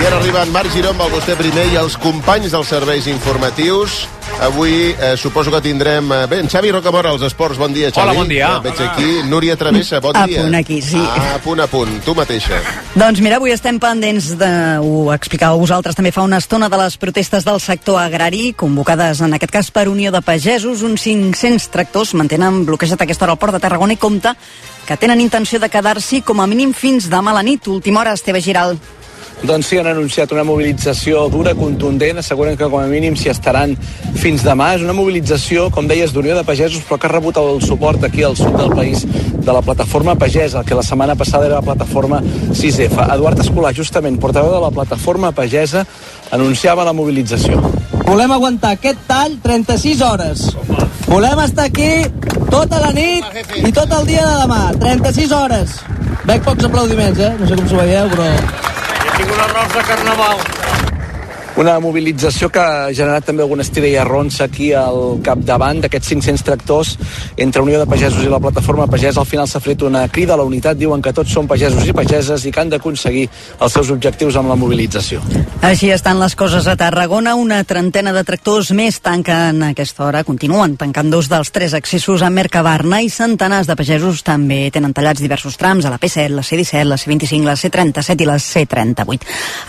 I ara arriben Marc Giró amb el vostè primer i els companys dels serveis informatius. Avui eh, suposo que tindrem... Eh, bé, en Xavi Rocamora, als esports. Bon dia, Xavi. Hola, bon dia. Et veig aquí. Núria Travessa, bon A dia. punt aquí, sí. Ah, a punt a punt. Tu mateixa. Doncs mira, avui estem pendents de... Ho explicàveu vosaltres també fa una estona de les protestes del sector agrari, convocades en aquest cas per Unió de Pagesos. Uns 500 tractors mantenen bloquejat a aquesta hora al port de Tarragona i compta que tenen intenció de quedar-s'hi com a mínim fins demà a la nit. Última hora, Esteve Giral. Doncs sí, han anunciat una mobilització dura, contundent, asseguren que com a mínim s'hi estaran fins demà. És una mobilització, com deies, d'Unió de Pagesos, però que ha rebut el suport aquí al sud del país de la plataforma Pagès, el que la setmana passada era la plataforma 6F. Eduard Escolar, justament, portaveu de la plataforma Pagesa, anunciava la mobilització. Volem aguantar aquest tall 36 hores. Volem estar aquí tota la nit i tot el dia de demà. 36 hores. Veig pocs aplaudiments, eh? No sé com s'ho veieu, però... Una mobilització que ha generat també alguna estira i arronsa aquí al capdavant d'aquests 500 tractors entre Unió de Pagesos i la plataforma Pagès. Al final s'ha fet una crida a la unitat, diuen que tots són pagesos i pageses i que han d'aconseguir els seus objectius amb la mobilització. Així estan les coses a Tarragona. Una trentena de tractors més tanquen a aquesta hora, continuen tancant dos dels tres accessos a Mercabarna i centenars de pagesos també tenen tallats diversos trams a la P7, la C17, la C25, la C37 i la C38.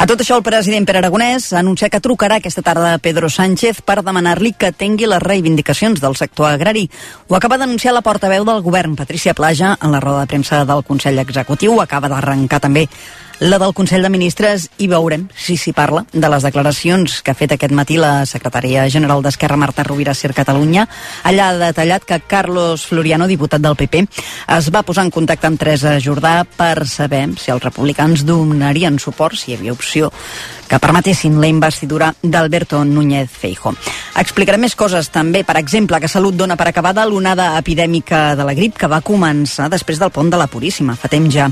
A tot això, el president Pere Aragonès ha anunciat que trucarà aquesta tarda a Pedro Sánchez per demanar-li que atengui les reivindicacions del sector agrari. Ho acaba d'anunciar la portaveu del govern, Patricia Plaja, en la roda de premsa del Consell Executiu. Acaba d'arrencar també la del Consell de Ministres i veurem si s'hi parla de les declaracions que ha fet aquest matí la secretària general d'Esquerra Marta Rovira Ser Catalunya. Allà ha detallat que Carlos Floriano, diputat del PP, es va posar en contacte amb Teresa Jordà per saber si els republicans donarien suport, si hi havia opció que permetessin la investidura d'Alberto Núñez Feijo. Explicaré més coses també, per exemple, que Salut dona per acabada l'onada epidèmica de la grip que va començar després del pont de la Puríssima, fa temps ja.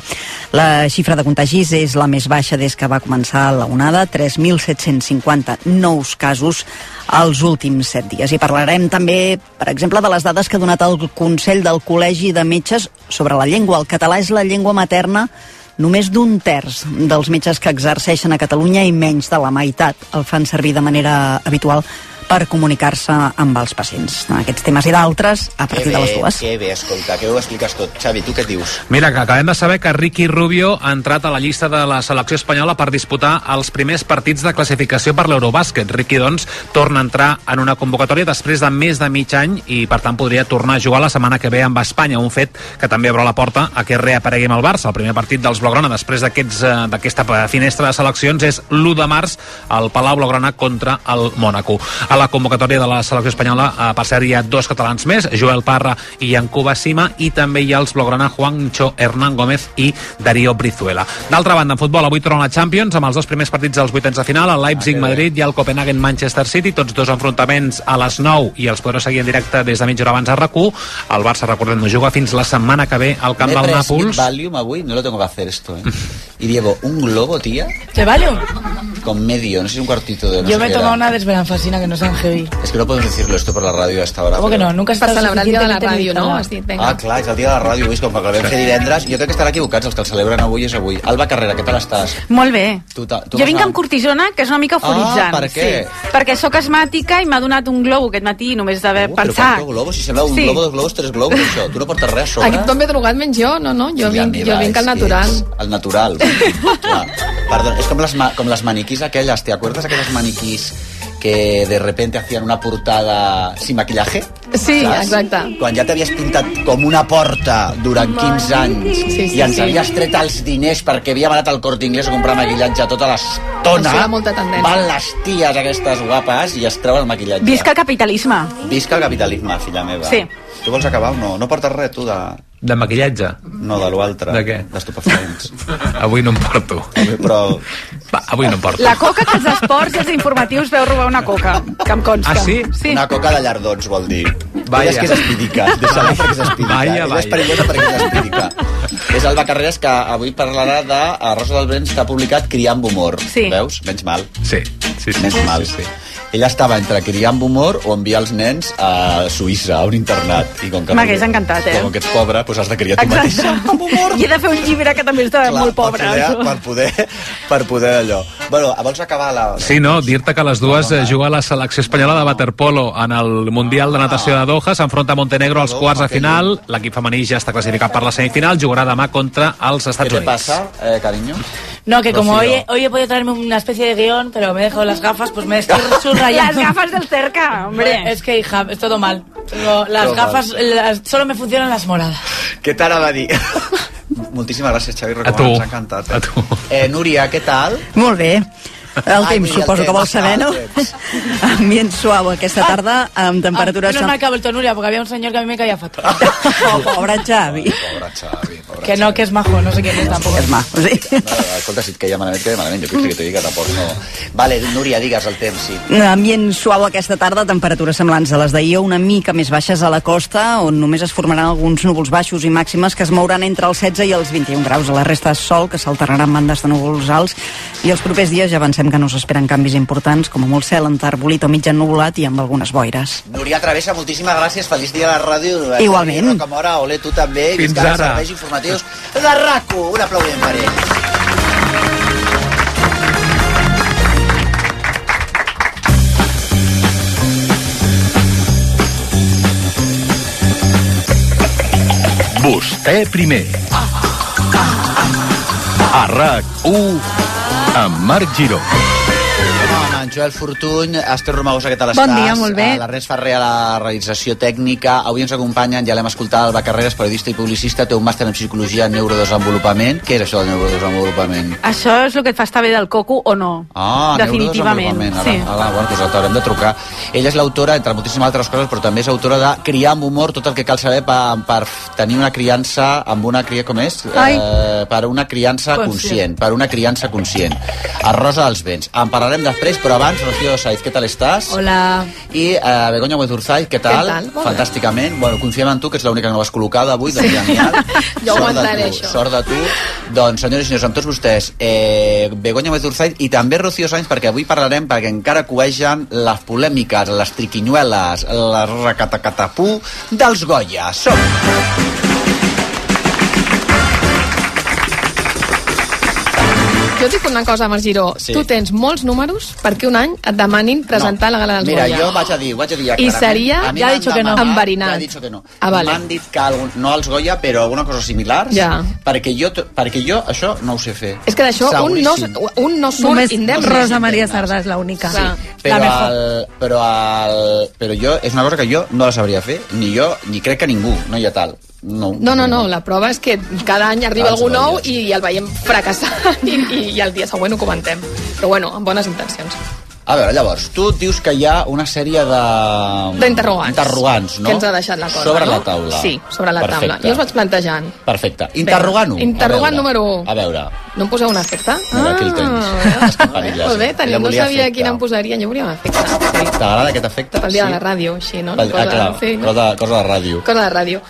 La xifra de contagis és la més baixa des que va començar la onada, 3.750 nous casos els últims set dies. I parlarem també, per exemple, de les dades que ha donat el Consell del Col·legi de Metges sobre la llengua. El català és la llengua materna Només d'un terç dels metges que exerceixen a Catalunya i menys de la meitat el fan servir de manera habitual per comunicar-se amb els pacients. Aquests temes i d'altres a Que partir de les dues. Eh, Que bé, escolta, que ho expliques tot. Xavi, tu què dius? Mira, que acabem de saber que Ricky Rubio ha entrat a la llista de la selecció espanyola per disputar els primers partits de classificació per l'Eurobàsquet. Ricky, doncs, torna a entrar en una convocatòria després de més de mig any i, per tant, podria tornar a jugar la setmana que ve amb Espanya, un fet que també obre la porta a que reaparegui amb el Barça. El primer partit dels Blaugrana després d'aquests, eh, d'aquesta eh, finestra de seleccions és l'1 de març al Palau Blaugrana contra el Mònaco. A la convocatòria de la selecció espanyola, eh, per cert, hi ha dos catalans més, Joel Parra i Yankuba Sima, i també hi ha els blaugrana Juancho Hernán Gómez i Darío Brizuela. D'altra banda, en futbol, avui torna la Champions, amb els dos primers partits dels vuitens de final, el Leipzig-Madrid i el Copenhagen-Manchester City, tots dos enfrontaments a les 9 i els podreu seguir en directe des de mitja hora abans a rac El Barça, recordem, no juga fins la setmana que ve al camp Me he del pres Nàpols. Valium avui, no lo tengo que hacer esto, ¿eh? Y llevo un globo, tía, ¿Te vale? con medio, no sé, un cuartito de... No Yo sé me he qué era. tomado una desveranfacina que no sean heavy. És que no podem decirlo esto por la radio hasta ahora. ¿Cómo que no? Nunca has Per estado celebrar el dia de la suficientemente ràdio, no? invitada. Has dit, vinga. Ah, clar, és el dia de la ràdio, avui, és com que el vam fer divendres. Jo crec que estan equivocats, els que el celebren avui és avui. Alba Carrera, què tal estàs? Molt bé. Tu ta- tu jo vas vinc anar- amb cortisona, que és una mica euforitzant. Ah, per què? Sí, perquè sóc asmàtica i m'ha donat un globo aquest matí, només d'haver Uh, però pensat. quantos globos? Si sembla un Sí. globo, dos globos, tres globos, això. Tu no portes res a sobre. Aquí tothom ve drogat menys jo, no, no? Filla Jo, vinc, Ah. meva, jo vinc al és que natural. ets Al natural. Clar. Perdó, és com les, ma- com les maniquís aquelles, ¿te acuerdas aquelles maniquís que de repente hacían una portada sin maquillaje? Sí, exacte. Quan ja t'havies pintat com una porta durant 15 anys Sí, sí, i ens sí. havies tret els diners perquè havíem anat al Corte Inglés a comprar maquillatge tota l'estona, Això era molta tendència. van les ties aquestes guapes i es treu el maquillatge. Visca el capitalisme. Visca el capitalisme, filla meva. Sí. Tu vols acabar o no? No portes res, tu, de... De maquillatge? No, de l'altre. De què? D'estupefaents. Avui no em porto. Però... Va, avui no em porto. La coca que els esports i els informatius veu robar una coca, que em consta. Ah, sí? Sí. Una coca de llardons, vol dir. Vaya. Vaya. És que és espídica. Deixa-la perquè és espídica. Vaya, Ella vaya. és perillosa perquè és espídica. És Alba Carreras que avui parlarà de a Rosa del Vents que ha publicat Criant Humor. Sí. Veus? Menys mal. Sí, sí, sí. Menys sí, mal. sí, sí. Ella estava entre criar amb humor o enviar els nens a Suïssa, a un internat. I com que M'hagués encantat, eh? Com que ets pobre, doncs has de criar tu mateixa Exacte. amb humor. I he de fer un llibre que també està Clar, molt pobre. Per poder, això. per poder, per poder allò. Bueno, vols acabar la... Sí, no, dir-te que les dues eh, juga la selecció espanyola de waterpolo en el Mundial de Natació de Doha, s'enfronta a Montenegro als quarts de final, l'equip femení ja està classificat per la semifinal, jugarà demà contra els ¿Qué Estats te Units. pasa, eh, cariño? No, que como Rocío. hoy, he- hoy he podido traerme una especie de guión, pero me he dejado las gafas, pues me estoy Las subrayando. gafas del cerca, hombre. Es que, hija, es todo mal. Tengo las Todo mal. gafas, las- solo me funcionan las moradas. ¿Qué tal, Abadí? Moltíssimes gràcies, Xavi Rocamora, A tu. ens ha encantat. A tu. Eh, Núria, què tal? Molt bé. El Ai, temps, mira, el suposo que temps, vols saber, no? el temps. Ah, Ambient suau aquesta tarda, amb Temperatura temperatures... menos mal que ha vuelto Nuria, porque había un señor que a mí me caía fatal. Oh, pobre Xavi. Pobre Xavi, pobre que no, que es majo, no sé quién es tampoco. És mà, sí. No, escolta, si et queia malament, et queia malament. Jo què vols que t'ho digui, tampoc no... Vale, Núria, digues el temps, sí. Ambient suau aquesta tarda, temperatures semblants a les d'ahir, una mica més baixes a la costa, on només es formaran alguns núvols baixos i màximes que es mouran entre els 16 i els 21 graus. A la resta és sol, que s'alternarà amb bandes de núvols alts, i els propers dies ja avancem que no s'esperen canvis importants, com a molt cel enterbolit o mitjan nuvolat i amb algunes boires. Núria Travessa, moltíssimes gràcies. Feliç dia a la ràdio. Igualment. Xavi Rocamora, ole tu també. I Fins que els ara. Serveis informatius de RACU. Un aplaudiment per ells. Vostè primer. A RAC1 amb Marc Giró. Home, en Joel Fortuny, Esther Romagosa, què tal Bon estàs? dia, molt bé. A L'Ernest Ferrer a la realització tècnica. Avui ens acompanyen, ja l'hem escoltat, Alba Carreras, periodista i publicista, té un màster en psicologia en neurodesenvolupament. Què és això de neurodesenvolupament? Això és el que et fa estar bé del coco o no? Ah, Definitivament. neurodesenvolupament. Sí. Ara, ara, bueno, doncs et haurem de trucar. Ella és l'autora, entre moltíssimes altres coses, però també és autora de Criar amb humor, tot el que cal saber per, per tenir una criança amb una cria, com és? Eh, Ai. per una criança conscient. Conscient. conscient. Per una criança conscient. A Rosa dels Vents. En parlarem després, però abans, Rocío Saiz, què tal estàs? Hola. I eh, Begoña Huezurzai, què tal? Què tal? Molt bé. Fantàsticament. Bueno, confiem en tu, que ets l'única que no vas col·locada avui, doncs genial. Jo Sort aguantaré de tu, això. Sort de tu. Doncs, senyores i senyors, amb tots vostès, eh, Begoña Huezurzai i també Rocío Sainz, perquè avui parlarem, perquè encara coegen les polèmiques, les triquinyueles, la racatacatapú dels Goya. Som! Jo et dic una cosa, Marc Giró. Sí. Tu tens molts números perquè un any et demanin presentar la gala dels Mira, Goya. jo vaig a dir, ho vaig a dir ja I clarament. seria- A mi ja ha m'han dicho que no. demanat- enverinat. Ja ha dicho que no. Ah, vale. M'han dit que algun, no els Goya, però alguna cosa similar. Ja. Perquè jo, t- perquè jo això no ho sé fer. És que d'això un no, Seguríssim. un no surt Només indemne. Rosa Maria Sardà és l'única. Sí, però, el, però, el, però jo, és una cosa que jo no la sabria fer, ni jo, ni crec que ningú, no hi ha tal. No, No, no, no, la prova és que cada any arriba Els algú nou Goya. i, el veiem fracassant i, i, i el dia següent ho comentem. Però bueno, amb bones intencions. A veure, llavors, tu dius que hi ha una sèrie de... mm, D'interrogants. Interrogants, no? Que ens ha deixat la cosa, Sobre no? la taula. Sí, sobre la Perfecte. taula. Jo us vaig plantejant. Perfecte. Interrogant 1. interrogant número u. A veure. No em poseu un efecte? Ah. Mira, aquí el tens. És que perillós, Molt bé, eh? tenia, Ella no volia sabia efecte. quin em posaria, jo volia un efecte. Sí. T'agrada aquest efecte? Pel dia de la ràdio, així, eh, no? Pel, ah, clar, sí. cosa, cosa de ràdio. Cosa de ràdio.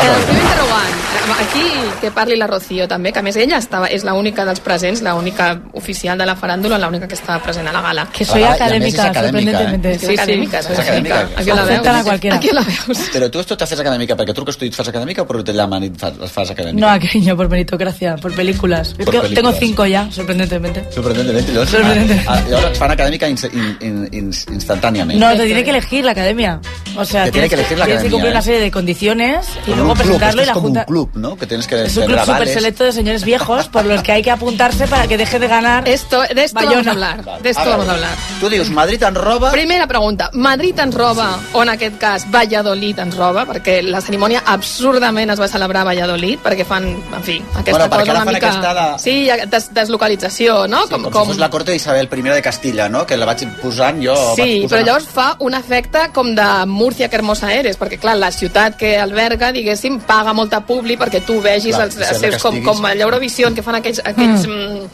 Ah, Eh, vale. el primer interrogant, eh, aquí que parli la Rocío també, que a més ella estava, és l'única dels presents, l'única oficial de la faràndula, l'única que estava present a la gala. Que soy Ah, y además es académica, académica, sorprendentemente. És que és acadèmica, És és acadèmica. acadèmica. Aquí la Afecta a la veus. qualquiera. Aquí la veus. Però tu esto te fas acadèmica perquè truques tu i et fas acadèmica o perquè te llaman i et fas, et fas acadèmica? No, cariño, por meritocracia, por películas. Por Es que Tengo películas. cinco ya, sorprendentemente. Sorprendentemente. Llavors, Sorprendentemente. Ah, ah, llavors et fan acadèmica ins, in, in, in, instantàniament. No, te tiene que elegir la academia. O sea, Te tiene tienes, que elegir la tienes que academia, cumplir ¿eh? una serie de condiciones y Con un club, luego esto presentarlo y es la como junta. un club, ¿no? Que tienes que Es un club tener súper avales. selecto de señores viejos por los que hay que apuntarse para que deje de ganar. Esto, de esto vamos Bayona. a hablar. Vale. De esto veure, vamos a hablar. Tu dius, Madrid en roba... Primera pregunta. Madrid ens roba, o en aquest cas Valladolid ens roba, perquè la cerimònia absurdament es va celebrar a Valladolid, perquè fan, en fi, aquesta Bueno, perquè cosa la una fan mica... aquesta de- Sí, des deslocalització, no? Com, com, si fos la corte d'Isabel I de Castilla, no? Que la vaig posant jo... Sí, vaig posant però llavors fa un efecte com de Múrcia, que hermosa eres, perquè, clar, la ciutat que alberga, diguéssim, paga molta publi perquè tu vegis Clar, els, sembla els que seus, com, estiguis- com a l'Eurovisió, que fan aquells... aquells mm.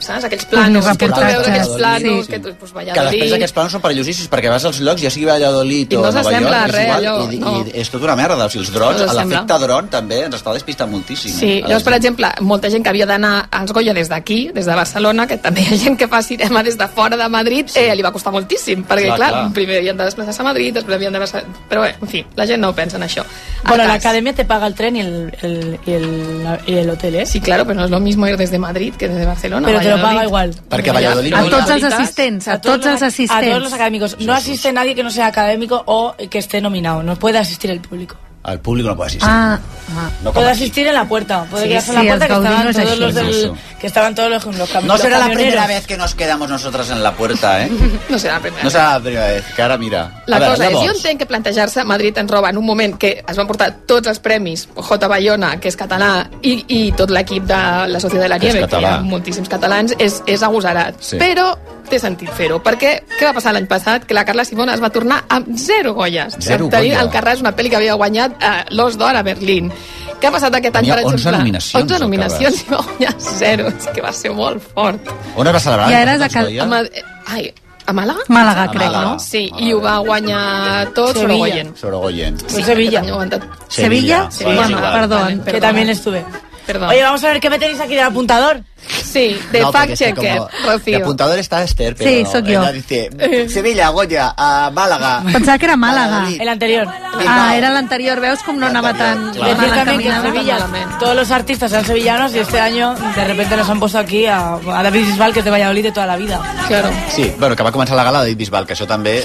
saps? Aquells planos, Uns que tu veus reportatges. aquells planos, Sí. que tu... Pues, que després Valladolid... aquests plans són perillosíssims perquè vas als llocs, ja sigui Valladolid o I no Nova York, s'assembla a és res, igual, allò, i, no. i, és tota una merda. O sigui, els drons, No a s'assembla. l'efecte dron també ens està despistant moltíssim. Sí, eh, a la llavors, per gent. exemple, molta gent que havia d'anar als Goya des d'aquí, des de Barcelona, que també hi ha gent que fa cinema des de fora de Madrid, eh, li va costar moltíssim, perquè, Clar, clar, clar, clar. primer havien de desplaçar-se a Madrid, després havien de... Barce- Però, bé, en fi, la gent no ho pensa en això. Bueno, la cas. academia te paga el tren y el, el- y el- la- y el hotel, ¿eh? Sí, claro, pero no es lo mismo ir desde Madrid que desde Barcelona. Pero te lo Valladolid. paga igual. Perquè Valladolid... A no hi ha- tots els assistents, a tots els A todos los assistents. académicos. No asiste nadie que no sea académico o que esté nominado. No puede asistir el público. El públic no pot assistir. Ah, ah. No, com Puede aquí. asistir en la puerta. Puede Sí, quedarse en sí, la puerta els que estaban gaudinos todos los així. del, que estaban todos los, los cam- No los será la camioneros. primera vez que nos quedamos nosotras en la puerta, ¿eh? No serà la primera. No serà la primera vez, que ara mira. La a veure, cosa és, jo llavors, entenc que plantejar-se Madrid ens roba en un moment que es van portar tots els premis, J. Bayona, que és català, i, i tot l'equip de la Societat de la Que és Nieve, que hi català. ha moltíssims catalans, és, és agosarat. Sí. Però té sentit fer-ho, perquè què va passar l'any passat? Que la Carla Simona es va tornar amb zero goies. Zero Tenint Goya. el Carràs, una pel·li que havia guanyat eh, l'Os d'Or a Berlín. Què ha passat aquest any, Tenia per 11 exemple? nominacions, 11 el nominacions i va guanyar zero. És que va ser molt fort. On es va celebrar? Ja eres de Cal- Cal... A Ma- Ai, a Màlaga? Màlaga, A crec, Màlaga. no? Sí, i ho va guanyar tot Sevilla. Sorogoyen. Sorogoyen. Sí, Sevilla. que tenia Sevilla? Bueno, Pues, Bueno, igual. perdón. Que también estuve. Perdón. Oye, vamos a ver qué me tenéis aquí del apuntador. Sí, de No, porque fact es que checker, como De Rocío. apuntador está Esther, pero Sí, soy yo. ella dice Sevilla, Goya, a Málaga. Pensava que era Màlaga. Valladolid. El anterior. Ah, era l'anterior, veus com no anava tan... Clar. Decir mal también que en encaminada? Sevilla todos los artistas eran sevillanos y este año de repente nos han puesto aquí a, a David Bisbal, que es de Valladolid de toda la vida. Claro. Sí, bueno, que va començar la gala de Bisbal, que això també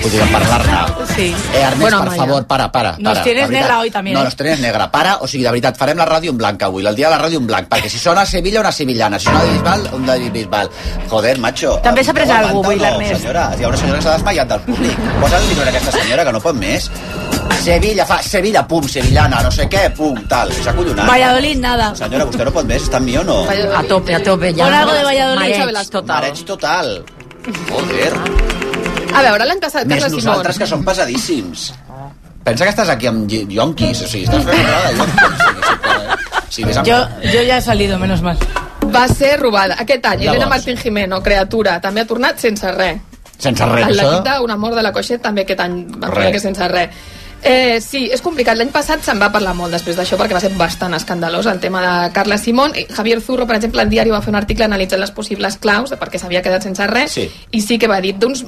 podríem parlar-ne. Sí. Eh, Ernest, Bueno, per Amaya. favor, para, para. Nos para, tienes de veritat. negra hoy también, No, eh? nos tienes negra. Para, o sigui, de veritat, farem la ràdio en blanc avui, el dia de la ràdio en blanc, perquè si sona Sevilla, una sevillana, si sona de Bisbal, un de Bisbal. Joder, macho. També s'ha pres aguanta algú, o avui, no, l'Ernest. Senyora, hi ha una senyora que s'ha desmaiat del públic. Posa-li dintre a aquesta senyora, que no pot més. Sevilla, fa Sevilla, pum, sevillana, no sé què, pum, tal. És acollonant. Valladolid, nada. Senyora, vostè no pot més, està amb mi o no? Valladolid. A tope, a tope. Ja. Pon algo de Valladolid. Mareig total. Mareig total. Ah, Joder. A veure, l'any passat Més Carles Simón. nosaltres que som pesadíssims. Pensa que estàs aquí amb lli- yonquis, o sigui, estàs fent una roda de yonquis. Sí, vés amb... Yo, yo ya he salido, menos mal. Va ser robada. Aquest any, Elena Llavors. Martín Jimeno, creatura, també ha tornat sense res. Sense res, En l'equip això. d'un amor de la coixet també aquest any va Res. fer que sense res. Eh, sí, és complicat. L'any passat se'n va parlar molt després d'això perquè va ser bastant escandalós el tema de Carla Simón. I Javier Zurro, per exemple, al diari va fer un article analitzant les possibles claus de per què s'havia quedat sense res Sí. i sí que va dir d'uns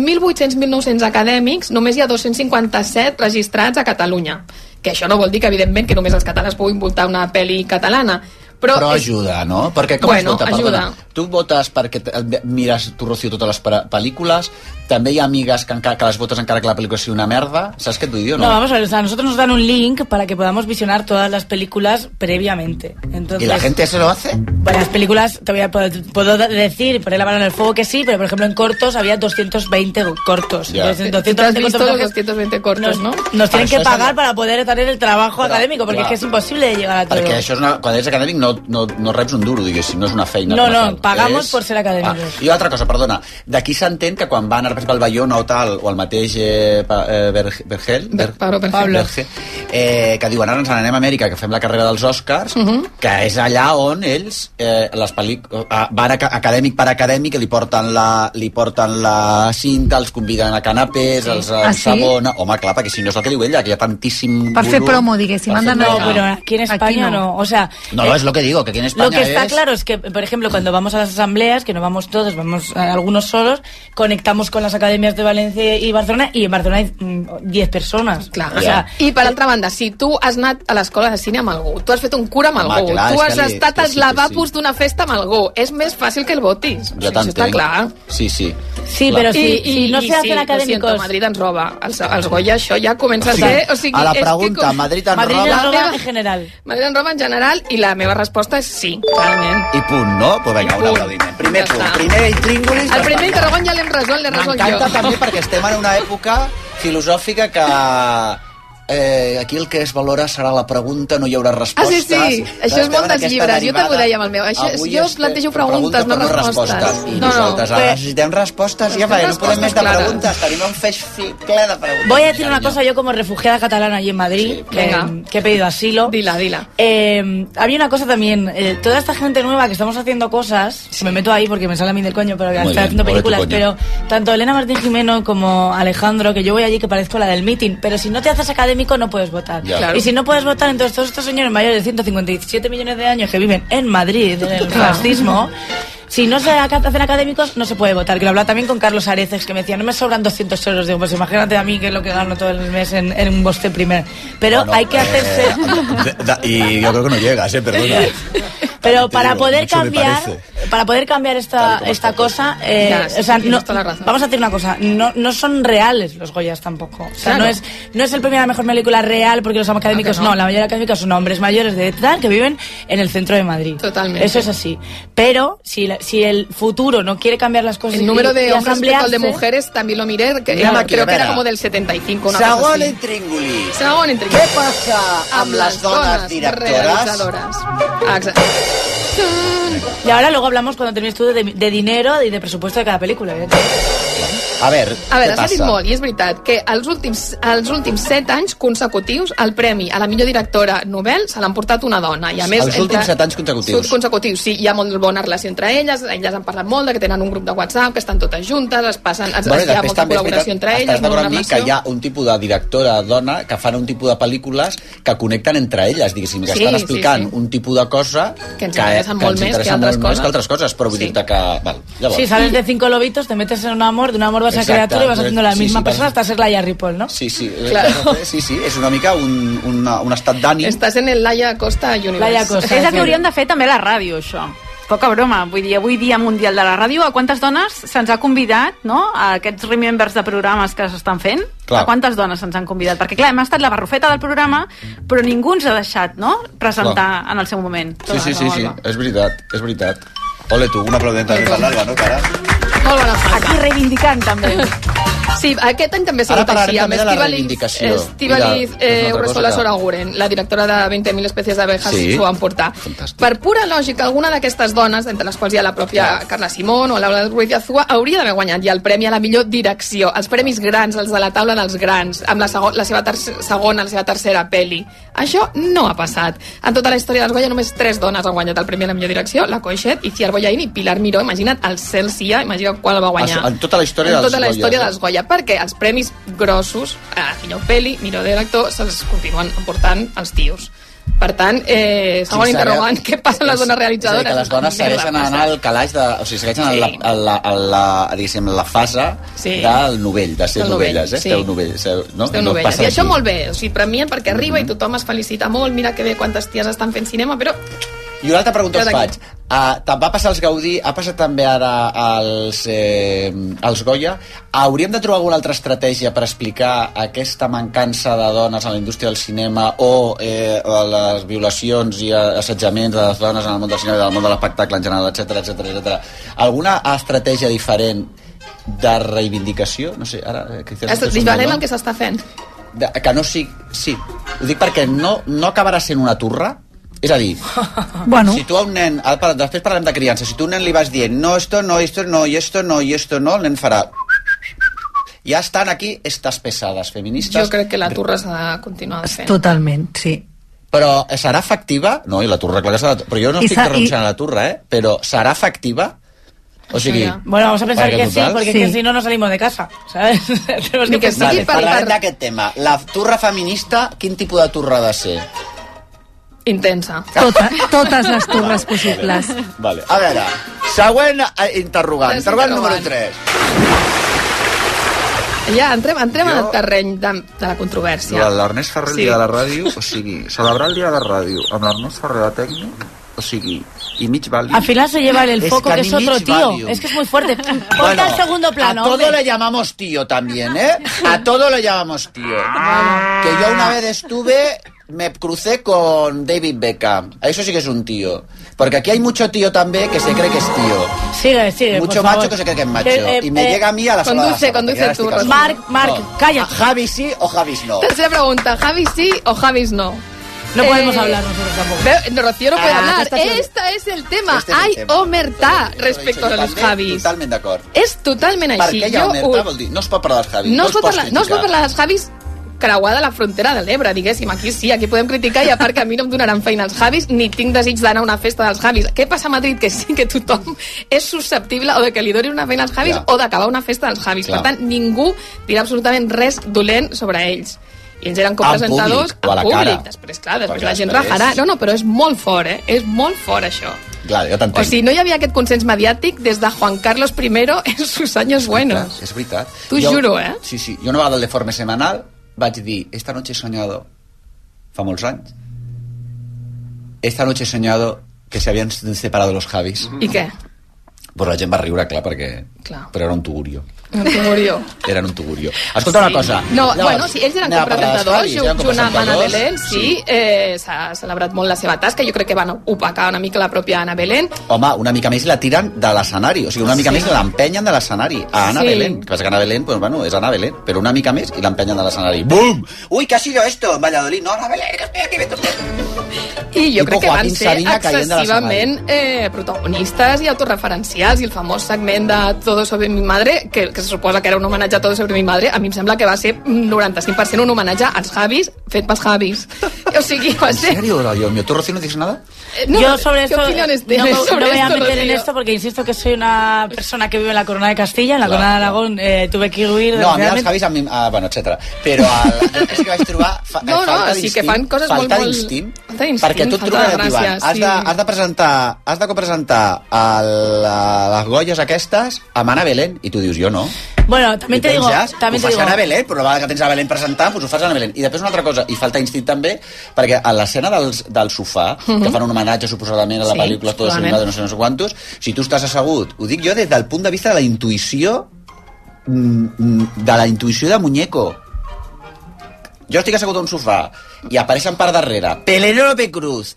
1.800-1.900 acadèmics només hi ha 257 registrats a Catalunya. Que això no vol dir que, evidentment, que només els catalans puguin voltar una pel·li catalana. Però, Però és, ajuda, no? Perquè com Bueno, es vota? Perdona, ajuda. tu votes perquè te- et mires tu, Rocío, totes les pe- pel·lícules, també hi ha amigues que, encara, que les votes encara que la pel·lícula sigui una merda, saps què et vull dir o No, no? vamos a ver, o sea, a nosotros nos dan un link para que podamos visionar todas las películas previamente. Entonces, I la gent eso lo hace? Para las películas, te voy a, puedo, puedo decir, poner la mano en el fuego que sí, pero por ejemplo en cortos había 220 cortos. Ya. Entonces, en Tú te has 220 visto los cortometrajes 220 nos, cortos, ¿no? nos tienen Eso que es pagar algo- para poder tener el trabajo Pero, académico, porque claro. es que es imposible llegar a todo. Perquè això és una, quan ets acadèmic no, no, no reps un duro, diguéssim, no és una feina. No, que no, fan. pagamos por ser académicos. Ah, I altra cosa, perdona, d'aquí s'entén que quan van a participar el Bayona o tal, o el mateix eh, pa, eh, Berg- Vergel, Ber- Pablo Vergel. Pablo. Vergel, eh, que diuen ara ens n'anem a Amèrica, que fem la carrera dels Oscars, Mhm. que és allà on ells, eh, les pel·li... ah, van a, acadèmic per acadèmic, li porten, la, li porten la cinta, els conviden a canapés, sí. els Ah, sí? ensabona... Home, clar, perquè si no és el que diu ella, que hi ha tantíssim... Per fer volum, promo, diguéssim, per han fer d'anar- No, promo. pero aquí en Aquí España no. no. O sea, No, eh, es lo que digo, que aquí en España Lo que está es- claro es que, por ejemplo, cuando vamos a las asambleas, que no vamos todos, vamos eh, algunos solos, conectamos con las academias de Valencia y Barcelona, y en Barcelona hay mm, 10 personas. Clar, O sea, I per altra banda, si tu has anat a l'escola de cine amb algú, tu has fet un cura amb Home, algú, clar, és tu has que li- estat que sí, als que lavabos sí. d'una festa amb algú, és més fàcil que el votis. Jo això està t'entenc. clar. Sí, sí. sí, clar. pero si, si no i se hacen lo académicos. siento, Madrid ens roba. Els, els Goya això ja comença Sí. a ser... O sigui, a la és que pregunta, com- Madrid ens Madrid roba nos roba Meva- en general. Madrid ens roba en general i la meva resposta és sí, clarament. i punt, no? Pues vinga, I un punt. aplaudiment. Primer Ja punt, està. primer intríngulis. El primer interrogant ja l'hem resolt, l'he resolt jo. M'encanta també perquè estem en una època filosòfica que... Eh, aquí el que es valora serà la pregunta, no hi haurà Ah, respostes. sí, sí, això és Estem molt en dels aquesta llibres, jo també ho derivada. deia amb el meu. Això, és- Avui jo este- plantejo preguntes, pregunta, no però respostes. respostes. I No, no. nosaltres Bé. ara necessitem respostes, ja va, Necessitem no podem més respostes de clares. preguntes, tenim un feix fi- ple de preguntes. Voy a decir una Carinyo. cosa, yo como refugiada catalana allí en Madrid, Sí, pues que, venga. que he pedido asilo. Dila, dila. Eh, había una cosa también, eh, toda esta gente nueva que estamos haciendo cosas, me meto ahí porque me sale a mí del coño, pero que Muy está bien, haciendo pobre tu películas, coño. pero tanto Elena Martín Jimeno como Alejandro, que yo voy allí que parezco la del meeting, pero si no te haces académico no puedes votar. Ya. Claro. Y si no puedes votar, entonces todos estos señores mayores de 157 millones de años que viven en Madrid, en el Claro. fascismo, Si no se aca- hacen académicos, no se puede votar. Que lo hablaba también con Carlos Areces, que me decía, no me sobran 200 euros. Digo, pues imagínate a mí que es lo que gano todo el mes en, en un boste primer. Pero Bueno, hay que eh, hacerse... de- da- y yo creo que no llegas, eh, perdona. Pero para digo, poder mucho me cambiar, parece. para poder cambiar esta, esta cosa, eh, Ya, sí, o sea, tienes no- toda la razón. vamos a decir una cosa, no, no son reales los Goyas tampoco. O sea, Claro. no es no es el premio a la mejor película real porque los académicos que no. no. la mayoría de académicos son hombres mayores de edad que viven en el centro de Madrid. Totalmente. Eso es así. Pero si, la- si el futuro no quiere cambiar las cosas, y- El número y de hombres respecto al de asamblearse- mujeres también lo miré, que Mira era- la creo que quimera. era como del 75, una cosa Segon así. intríngulis. Segon entre Què passa amb les dones directores? realitzadores? Ah, exacte. Y ahora luego hablamos cuando termines tú de, de dinero y de presupuesto de cada película. evidentemente. A veure, A veure, què s'ha dit passa? molt, i és veritat, que els últims, els últims set anys consecutius el premi a la millor directora Nobel se l'han portat una dona. I a més, Els últims set anys consecutius. Sud- Consecutius, sí. Hi ha molt bona relació entre elles, elles han parlat molt de que tenen un grup de WhatsApp, que estan totes juntes, es passen, es, Bueno, i hi ha després molta també és veritat, col·laboració entre estaràs elles, molt d'acord bona amb mi que relació. hi ha un tipus de directora dona que fan un tipus de pel·lícules que connecten entre elles, diguéssim, que Sí, estan sí, explicant sí. un tipus de cosa Que ens interessen molt més que interessa altres molt més que coses. altres coses, però vull Sí. dir-te que... Val, llavors, Si sales de cinco lobitos, te metes en un amor, de un amor vas a Exacte, criatura y vas haciendo la sí, misma sí, persona vas- hasta ser la Yarry Paul, ¿no? Sí, sí, Claro. sí, sí, és una mica un, un, un estat d'ànim. Estàs en el Laia Costa Universe. Laia Costa. És el que hauríem de fer també a la ràdio, això. Poca broma, vull dir, avui dia mundial de la ràdio, a quantes dones se'ns ha convidat, no?, a aquests remembers de programes que s'estan fent? Clar. A quantes dones se'ns han convidat? Perquè, clar, hem estat la barrufeta del programa, però ningú ens ha deixat, no?, presentar Clar. en el seu moment. Sí, sí, sí, sí, és veritat, és veritat. Ole tu, un aplaudiment també per l'Alba, no, cara? Molt bona frase. Aquí reivindicant, també. Sí, aquest any també s'ha Ara dit parlarem així, amb també de la Estivaliz, reivindicació. Mira, és Estivaliz una eh, altra Ursola cosa que- Soraguren, la directora de 20.000 espècies d'abejas, Sí. s'ho va emportar. Fantàstic. Per pura lògica, alguna d'aquestes dones, entre les quals hi ha la pròpia Carla Simón o Laura Ruiz de Azúa, hauria d'haver guanyat ja el premi a la millor direcció, els premis grans, els de la taula dels grans, amb la, segon, la seva ter segona, la seva tercera peli. Això no ha passat. En tota la història dels Goya només tres dones han guanyat el premi a la millor direcció, la Coixet, Iciar Boyain i Pilar Miró. Imagina't el Cel Cia, imagina't quan el va guanyar. En tota la història en dels tota la Goya, història eh? dels Goya, perquè els premis grossos, a millor peli, millor director, se'ls continuen emportant els tios. Per tant, eh, segon Sí, serà- interrogant, què passa amb les És dones a dir, realitzadores? que les dones Merda segueixen passa. anant al calaix de... O sigui, segueixen en, la, Sí. en, la, en la, diguéssim, en la fase Sí. del novell, de ser Del novell, novelles, eh? sí. Esteu novelles, eh? no? Esteu no novelles. passa I això d'aquí. molt bé, o sigui, premien perquè Mm-hmm. arriba i tothom es felicita molt, mira que bé quantes ties estan fent cinema, però I una altra pregunta us Queda faig. aquí. Uh, te'n va passar als Gaudí, ha passat també ara als, eh, als Goya. Hauríem de trobar alguna altra estratègia per explicar aquesta mancança de dones en la indústria del cinema o eh, o les violacions i assetjaments de les dones en el món del cinema i del món de l'espectacle en general, etc etc etc. Alguna estratègia diferent de reivindicació? No sé, ara... eh, Que és diferent el que s'està fent. de, que no sigui... Sí, ho dic perquè no, no acabarà sent una turra, és a dir, Bueno, si tu a un nen, ah, per- després parlem de criança, si tu a un nen li vas dient no, esto no, esto no, i esto no, i esto no, el nen farà... Ja estan aquí estas pesades feministes. Jo crec que la turra s'ha de continuar fent. totalment, sí. Però eh, serà efectiva? No, i la turra, clar que serà... Però jo no I estic s'ha- i- renunciant a la turra, eh? Però serà efectiva? O sigui... ja. Bueno, vamos a pensar perquè que sí, total- porque Sí. es que si no, no salimos de casa, ¿sabes? Tenemos Ni que que pensar. Vale, sigui per- parlarem per- d'aquest tema. La turra feminista, quin tipus de turra ha de ser? Intensa. Tota, totes les torres possibles. Vale. A veure, següent eh, interrogant. Tres Interrogant número interrogants. 3. Ja, entrem, entrem en Jo- el terreny de, de la controvèrsia. La- L'Ernest Ferrer el Sí. dia de la ràdio, o sigui, celebrar el dia de la ràdio amb l'Ernest Ferrer de tècnic, o sigui, i mig vali. Al final se lleva el Es foco, que es otro Canimich tío. Valium. Es que es muy fuerte. Ponte al segundo plano. a todo hombre. le llamamos tío también, ¿eh? A todo lo llamamos tío. Que yo una vez estuve, me crucé con David Beckham. Eso sí que es un tío. Porque aquí hay mucho tío también que se cree que es tío. Sigue, sigue. Mucho por macho favor. que se cree que es macho. Que, eh, y me eh, llega a mí a la sola conduce, de la conduce zapatilla, tú, estoy Rosana. casado. Marc, Marc, cállate. Javi sí o Javis no. Tercera pregunta, Javis sí o Javis no? No Eh, podemos hablar nosotros tampoco. Veo- no, Rocío no puede Ah, hablar. esta es la- Esta es el tema. Este es el Hay tema. Lo omertà he respecto dicho a yo los también, Javis. Totalment d'acord. És totalment Per així. què hi ha Jo omerta? ho- Vol dir, no es pot parlar dels Javis. uh, No es els pot pots parlar, no es pot criticar. parlar dels Javis creuada la frontera de l'Ebre, diguéssim. Aquí sí, aquí podem criticar i a part que a mi no em donaran feina els Javis ni tinc desig d'anar a una festa dels Javis. Què passa a Madrid? Que sí que tothom és susceptible o de que li donin una feina als Javis Clar. o d'acabar una festa dels Javis. Clar. Per tant, ningú dirà absolutament res dolent sobre ells. I ens eren copresentadors En públic, o a la en públic. cara. Després, clar, després Perquè la gent després- rajarà. No, no, però és molt fort, eh? És molt fort, això. Clar, jo O t'entenc. sigui, no hi havia aquest consens mediàtic des de Juan Carlos I en sus años buenos. És veritat. T'ho juro, eh? Sí, sí. Jo una vegada de forma semanal vaig dir Esta noche he soñado fa molts anys Esta noche he soñado que se habían separado los Javis. I què? Pues la gent va riure, clar, perquè... Clar. Però era un tugurio. No t'ho morió. Eren un tugurio. Escolta sí. una cosa. No, Llavors, bueno, sí, ells eren anem a parlar dels copresentadors, Javis, ju- eren junt amb Ana copresentadors. Belén, sí, eh, s'ha celebrat molt la seva tasca, jo crec que van opacar una mica la pròpia Ana Belén, Home, una mica més la tiren de l'escenari, o sigui, una mica sí. més l'empenyen de l'escenari a Ana Sí. sí. Belén. El Que passa que Ana Belén, pues, bueno, és Ana Belén, però una mica més i l'empenyen de l'escenari. Bum! Ui, que ha sido esto, Valladolid, no, Ana Belén, que estoy aquí, vete usted. i jo Tipo crec que van Joaquín ser Sabina caient de excessivament eh, protagonistes i autorreferencials, i el famós segment de Todo sobre mi madre, que, que se suposa que era un homenatge a Todo sobre mi madre, a mi em sembla que va ser 95% un homenatge als Javis, fet pels Javis. O sigui, va ¿En ser... serio, Dios mío? ¿Tú, Rocío, no dices nada? Eh, no, yo sobre ¿qué esto opiniones no, tienes me- sobre no me voy a esto, meter en Rocío? esto porque insisto que soy una persona que vive en la corona de Castilla, en la Claro, corona de claro. Aragón eh, tuve que huir. No, a mi els desgraciadamente. Javis, a mi, ah, bueno, etcètera. Però el, és que vaig trobar fa, No, no, falta sí d'instint, que fan coses falta molt, molt- d'instint, falta d'instint, perquè tu et falta truquen de i et diuen, gràcia, has, sí. de, has de presentar, has de copresentar a, la, les golles aquestes amb Ana Belén, i tu dius, jo no. Bueno, también te I digo, penses, también ho fas te digo. a Ana Belén, però la vegada que tens a Belén presentant, doncs ho fas a Ana Belén. I després una altra cosa, i falta instint també, perquè a l'escena del, del sofà, que fan un homenatge suposadament a la Mhm. Sí, pel·lícula Todo segurament. Soldado, no sé, no sé quantos, si tu estàs assegut, ho dic jo des del punt de vista de la intuïció mm, mm, de la intuïció de Muñeco. Jo estic assegut a un sofà i apareixen per darrere Penélope Cruz,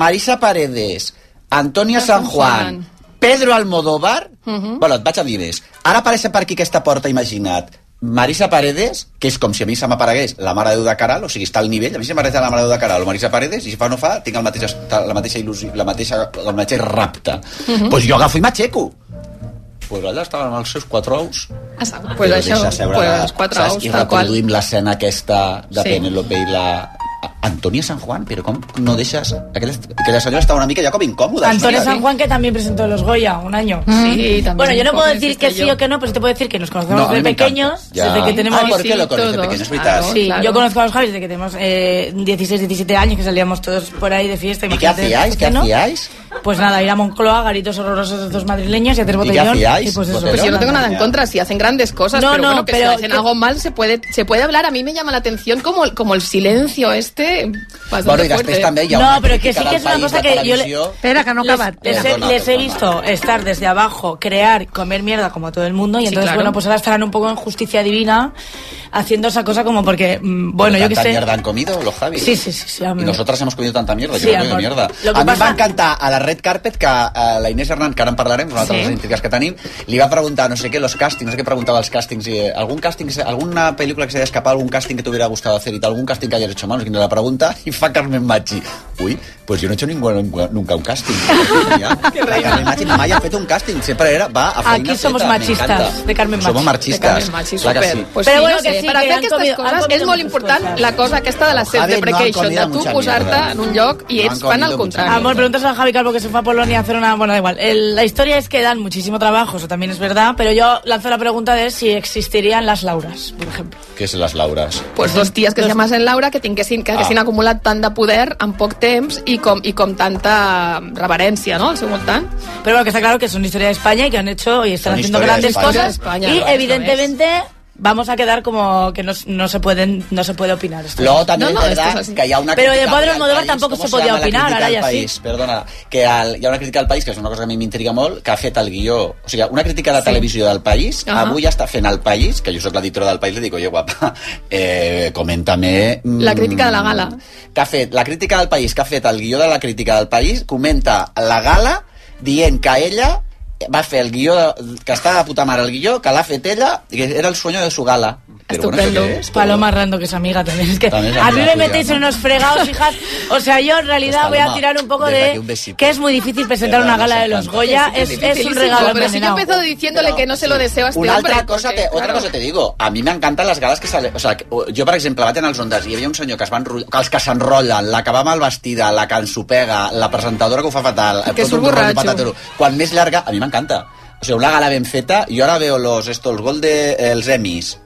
Marisa Paredes, Antonia San San Juan. Juan, Pedro Almodóvar... Bueno, et vaig a dir més. Ara apareix per aquí aquesta porta, imagina't. Marisa Paredes, que és com si a mi se m'aparegués la Mare de Déu de Caral, o sigui, està al nivell, a mi se m'apareix la Mare de Déu de Caral o Marisa Paredes, i si fa o no fa, tinc el mateix, la mateixa il·lusió, la mateixa, el mateix rapte. Doncs Mm? pues jo agafo i m'aixeco. Doncs pues allà estaven amb els seus quatre ous Ah, saps, pues però això, deixa seure pues la- quatre saps? ous, I tal qual. reproduïm l'escena aquesta de Sí. sí. Penélope i la... A- Antonia San Juan, però com no deixes... Aquella, aquella senyora estava una mica ja com incòmoda. Antonio senyora, San Juan, que también presentó los Goya un año. Mm. Sí, también. Bueno, yo no puedo Joder, decir este que sí yo. o que no, pero sí te puedo decir que nos No, conocemos a mi desde m'encanta. pequeños, Ja. Ah, desde que tenemos... Ay, ¿por qué Sí, lo conoces todos, pequeño? Es veritat. claro, Sí, claro. yo conozco a los Javis desde que tenemos eh, 16, 17 años, que salíamos todos por ahí de fiesta. ¿Y qué imagínate, hacíais? ¿Qué ¿no? hacíais? Pues nada, ir a Moncloa, garitos horrorosos de dos madrileños y hacer qué botellón. hacíais? pues eso, Botellón. Pues yo no tengo Yolanda. nada en contra, si hacen grandes cosas, No, pero no, bueno, que pero si hacen que- algo mal se puede, se puede hablar. A mí me llama la atención como, el- como el silencio este bastante Bueno, i fuerte. Pues, després també hi ha No, una però que crítica sí que del és una país cosa de que jo le- televisió. Espera, que no ha acabat. Les, les he, Perdona, les he perdona. visto estar desde abajo, crear, comer mierda como todo el mundo, y Sí, entonces, claro. bueno, pues ahora estarán un poco en justicia divina haciendo esa cosa como porque, mm, bueno, yo que ¿Tanta sé. mierda han comido los Javis? Sí, sí, sí, sí, Y amor. nosotras hemos comido tanta mierda, Sí, yo no he comido amor. mierda. Lo que a mi passa- va encantar a la red carpet que a la Inés Hernán, que ara en parlarem, és una altra Sí. de les intrigas que tenim, li va preguntar, no sé què, los castings, no sé què preguntava els castings, i, eh, algun càsting, que se- alguna película que se haya escapado, algún casting que te hubiera gustado hacer y tal, algún casting que hayas hecho mal, no sé quina la pregunta, y fa Carmen Machi. Uy, pues yo no he hecho ningú, nunca un casting. Ja. La Carmen Machi mai ha fet un casting, sempre era, va a feina Aquí somos feta, machistas, m'encanta. de Carmen Somos Machi. De machistas. Carmen Machi, clar que súper. sí. Pues Però sí, bueno, no que sé, sí, per que fer han aquestes comido- han coses comido és molt muchas important cosas. la cosa aquesta de la Javi, no han self-deprecation, comido de tu mucha posar-te mierda. pues en un lloc i No han ells fan el comido mucha contrari. Amor, preguntas a Javi Calvo que se fue a Polonia a hacer una... Bueno, da igual. El- la historia es que dan muchísimo trabajo, eso también es verdad, pero yo lanzo la pregunta de si existirían las Lauras, por ejemplo. Què és les Laures? Pues dos ties que es llamassen Laura que tinguessin, que Ah. haguessin acumulat tant de poder en poc temps i com, i com tanta reverència no, al seu voltant. Pero bueno, que está claro que son historia de España y que han hecho y están Son haciendo historia de grandes España. cosas. Historia de España, y claro, eso evidentemente vamos a quedar como que no, no se pueden no se puede opinar esto. Luego también No, es no, esto verdad es así. que hay una Pero de crítica Pablo al Almodóvar país, tampoco ¿cómo se podía llama la opinar, crítica ahora al ya sí. país? Perdona, que al, hi ha una crítica al país, que és una cosa que a mi m'intriga molt, que ha fet el guió. O sigui, una crítica de sí. televisió del país, Ahà. avui està fent el país, que jo sóc l'editora del país, li dic, oye, guapa, eh, comenta-me... mm, La crítica de la gala. Que ha fet la crítica del país, que ha fet el guió de la crítica del país, comenta la gala dient que ella va fer el guió, de, que està de puta mare el guió, que l'ha fet ella, i que era el sueño de su gala. Però bueno, Estupendo. això què és? Paloma Rando, que es amiga también. Es que También es a mí amiga me tuya, metéis ¿no? en unos fregados, hijas. O sea, yo en realidad Pues, voy a Paloma, tirar un poco desde de. aquí un besito. que es muy difícil presentar Verdad, una gala nos de los encanta. Goya. Sí, Es, sí, es un Felicísimo, regalo Pero si yo envenenado. empiezo diciéndole que no se lo deseo a este una hombre... altra cosa porque, te, otra claro. cosa te digo a mi m'encanten les gales que se, o sea, que, o, jo per exemple vaig anar als ondes i hi havia un senyor que es van enro- que els que s'enrotllen la que va mal vestida la que ensopega la presentadora que ho fa fatal eh, Que tot surt un rotllo borratxo. patatero. quan més llarga a mi m'encanta o sigui, una gala ben feta, jo ara veo los, esto, el gol de, els Emmys,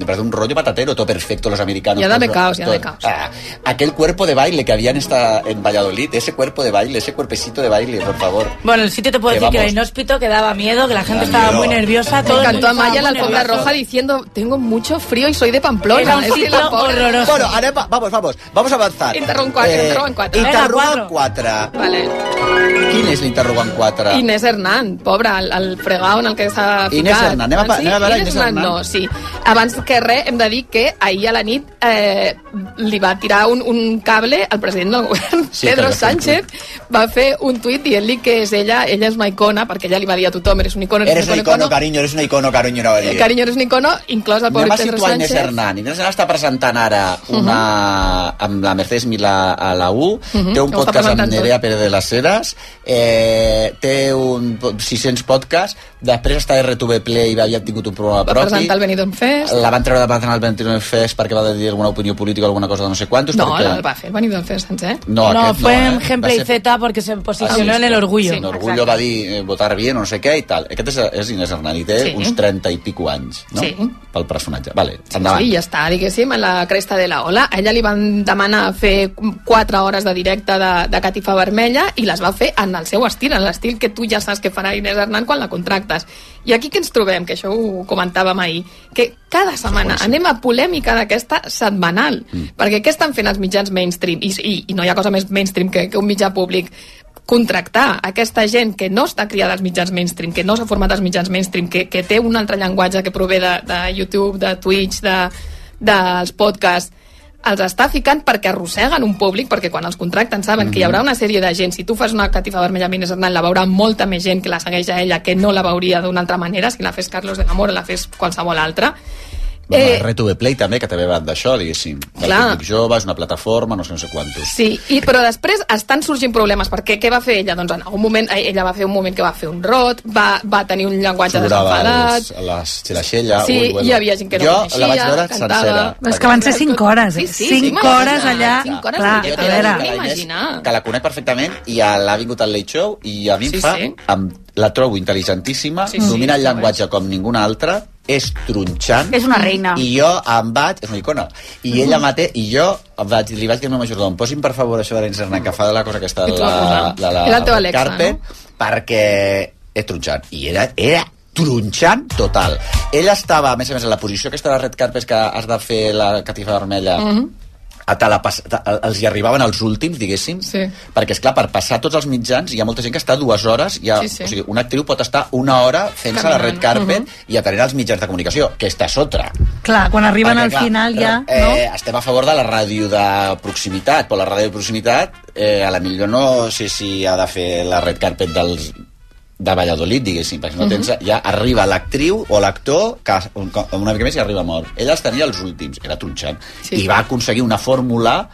Me parece un rollo patatero, todo perfecto, los americanos. Ya dame todo- caos, ya todo- dame caos. Ah, aquel cuerpo de baile que había en, esta, en Valladolid, ese cuerpo de baile, ese cuerpecito de baile, por favor. Bueno, el sitio te puedo Que decir que era vamos. inhóspito, que daba miedo, que la gente Da estaba miedo. muy nerviosa. Me Todo el encantó mundo Amaya en la estaba muy alfombra nervioso. roja diciendo tengo mucho frío y soy de Pamplona. Era un Es que sitio la pobre- horroroso. Bueno, anem, vamos, vamos, vamos a avanzar. Interrogant quatre, interrogant quatre. Eh, Vinga, interrogant quatre. 4. Vale. Quin és l'interrogant 4? Inés Hernán, pobra, el, el fregau en el que s'ha ficat. Inés Hernán, anem a pa- Sí, anem a veure Inés Inés Hernán. Hernán, no, sí. Abans que res, hem de dir que ahir a la nit eh, li va tirar un, un cable al president del govern, Sí, que sí, va Pedro fer un Sánchez, va fer un tuit dient-li que és ella, ella és una icona, perquè ella li va dir a tothom, eres un icono, Eres un icono, icono. cariño, eres un icono, cariño, no va dir. Eh, Carinyo, eres un icono, inclòs el Anem pobre a Pedro situar Inés Sánchez. Hernán. Inés Hernán està presentant ara una, amb la Mercedes Milà a la U, Mhm, té un ho està podcast amb presentant tot. Nerea Pérez de les Heres, eh, té un po- 600 podcasts, després està a RTV Play i havia tingut un programa Va propi. presentar el Benidorm Fest. La van treure de Patronal el 29 Fest perquè va dir alguna opinió política o alguna cosa de no sé quantos. No, perquè... no el va fer el Benidorm Fest sencer. No, no, aquest fue no, eh? en Gameplay Va ser- Z porque se posicionó Ah, en el orgullo. En Orgullo va dir eh, votar bien o no sé què i tal. Aquest és, és Inés Hernán i té Sí. uns 30 i pico anys, no? Sí. Pel personatge. Vale, endavant. Sí, ja està, diguéssim, en la cresta de la ola. A ella li van demanar fer 4 hores de directe de, de catifa vermella i les va fer en el seu estil, en l'estil que tu ja saps que farà Inés Hernán quan la contractes. I aquí que ens trobem, que això ho comentàvem ahir, que cada setmana anem a polèmica d'aquesta setmanal, mm. perquè què estan fent els mitjans mainstream? I, i, i no hi ha cosa més mainstream que, que un mitjà públic contractar aquesta gent que no està criada als mitjans mainstream, que no s'ha format als mitjans mainstream, que, que té un altre llenguatge que prové de, de YouTube, de Twitch, de, dels podcasts, els està ficant perquè arrosseguen un públic, perquè quan els contracten saben Mhm. que hi haurà una sèrie de gent, si tu fas una catifa vermella amb Inés Hernán, la veurà molta més gent que la segueix a ella, que no la veuria d'una altra manera, si la fes Carlos de Gamora o la fes qualsevol altra. Bueno, eh... RTV Play també, que també va d'això, diguéssim. Clar. Clar. El públic jove, és una plataforma, no sé, no sé quantos. Sí, i, però després estan sorgint problemes, perquè què va fer ella? Doncs en algun moment, eh, ella va fer un moment que va fer un rot, va, va tenir un llenguatge desenfadat... els, a les Xelaxella. Sí, ui, bueno. hi havia gent que no jo coneixia, la vaig veure cantava. sencera. És que van ser cinc hores, Sí, eh? sí, cinc m'imagino. hores allà... Cinc hores clar, Jo de a directe, t'he de veure... dir que la Inés, Imaginar. que la conec perfectament i ja l'ha vingut al Late Show i a mi em Sí, fa, sí. Amb, la trobo intel·ligentíssima, Sí, sí, domina el ho és. llenguatge com ninguna altra, és tronxant, És una reina. I jo em vaig... És una icona. I ella mate... I jo em vaig, li vaig dir al meu majordom, posi'm per favor això de l'Inserna, que fa de la cosa aquesta de I tu vas la, posar. de la, Era el teu Alexa, Carpe, no? perquè he tronxat. I era, era tronxant total. Ella estava, a més a més, en la posició aquesta de red carpet que has de fer la catifa vermella, mm Mm-hmm. -hmm a te la pas- te- els hi arribaven els últims, diguéssim, Sí. perquè, és clar per passar tots els mitjans hi ha molta gent que està dues hores, hi ha, Sí, sí. o sigui, una actriu pot estar una hora fent-se la red Caminant. Mhm. carpet i atenent els mitjans de comunicació, que esta és otra. Clar, quan arriben Perquè, al clar, final ja... Eh, No? Estem a favor de la ràdio de proximitat, però la ràdio de proximitat eh, a la millor no sé si ha de fer la red carpet dels de Valladolid, diguéssim, perquè no Mhm. tens, ja arriba l'actriu o l'actor que un, una mica més i arriba mort. Ella els tenia els últims, era tronxant, Sí, i sí. va aconseguir una fórmula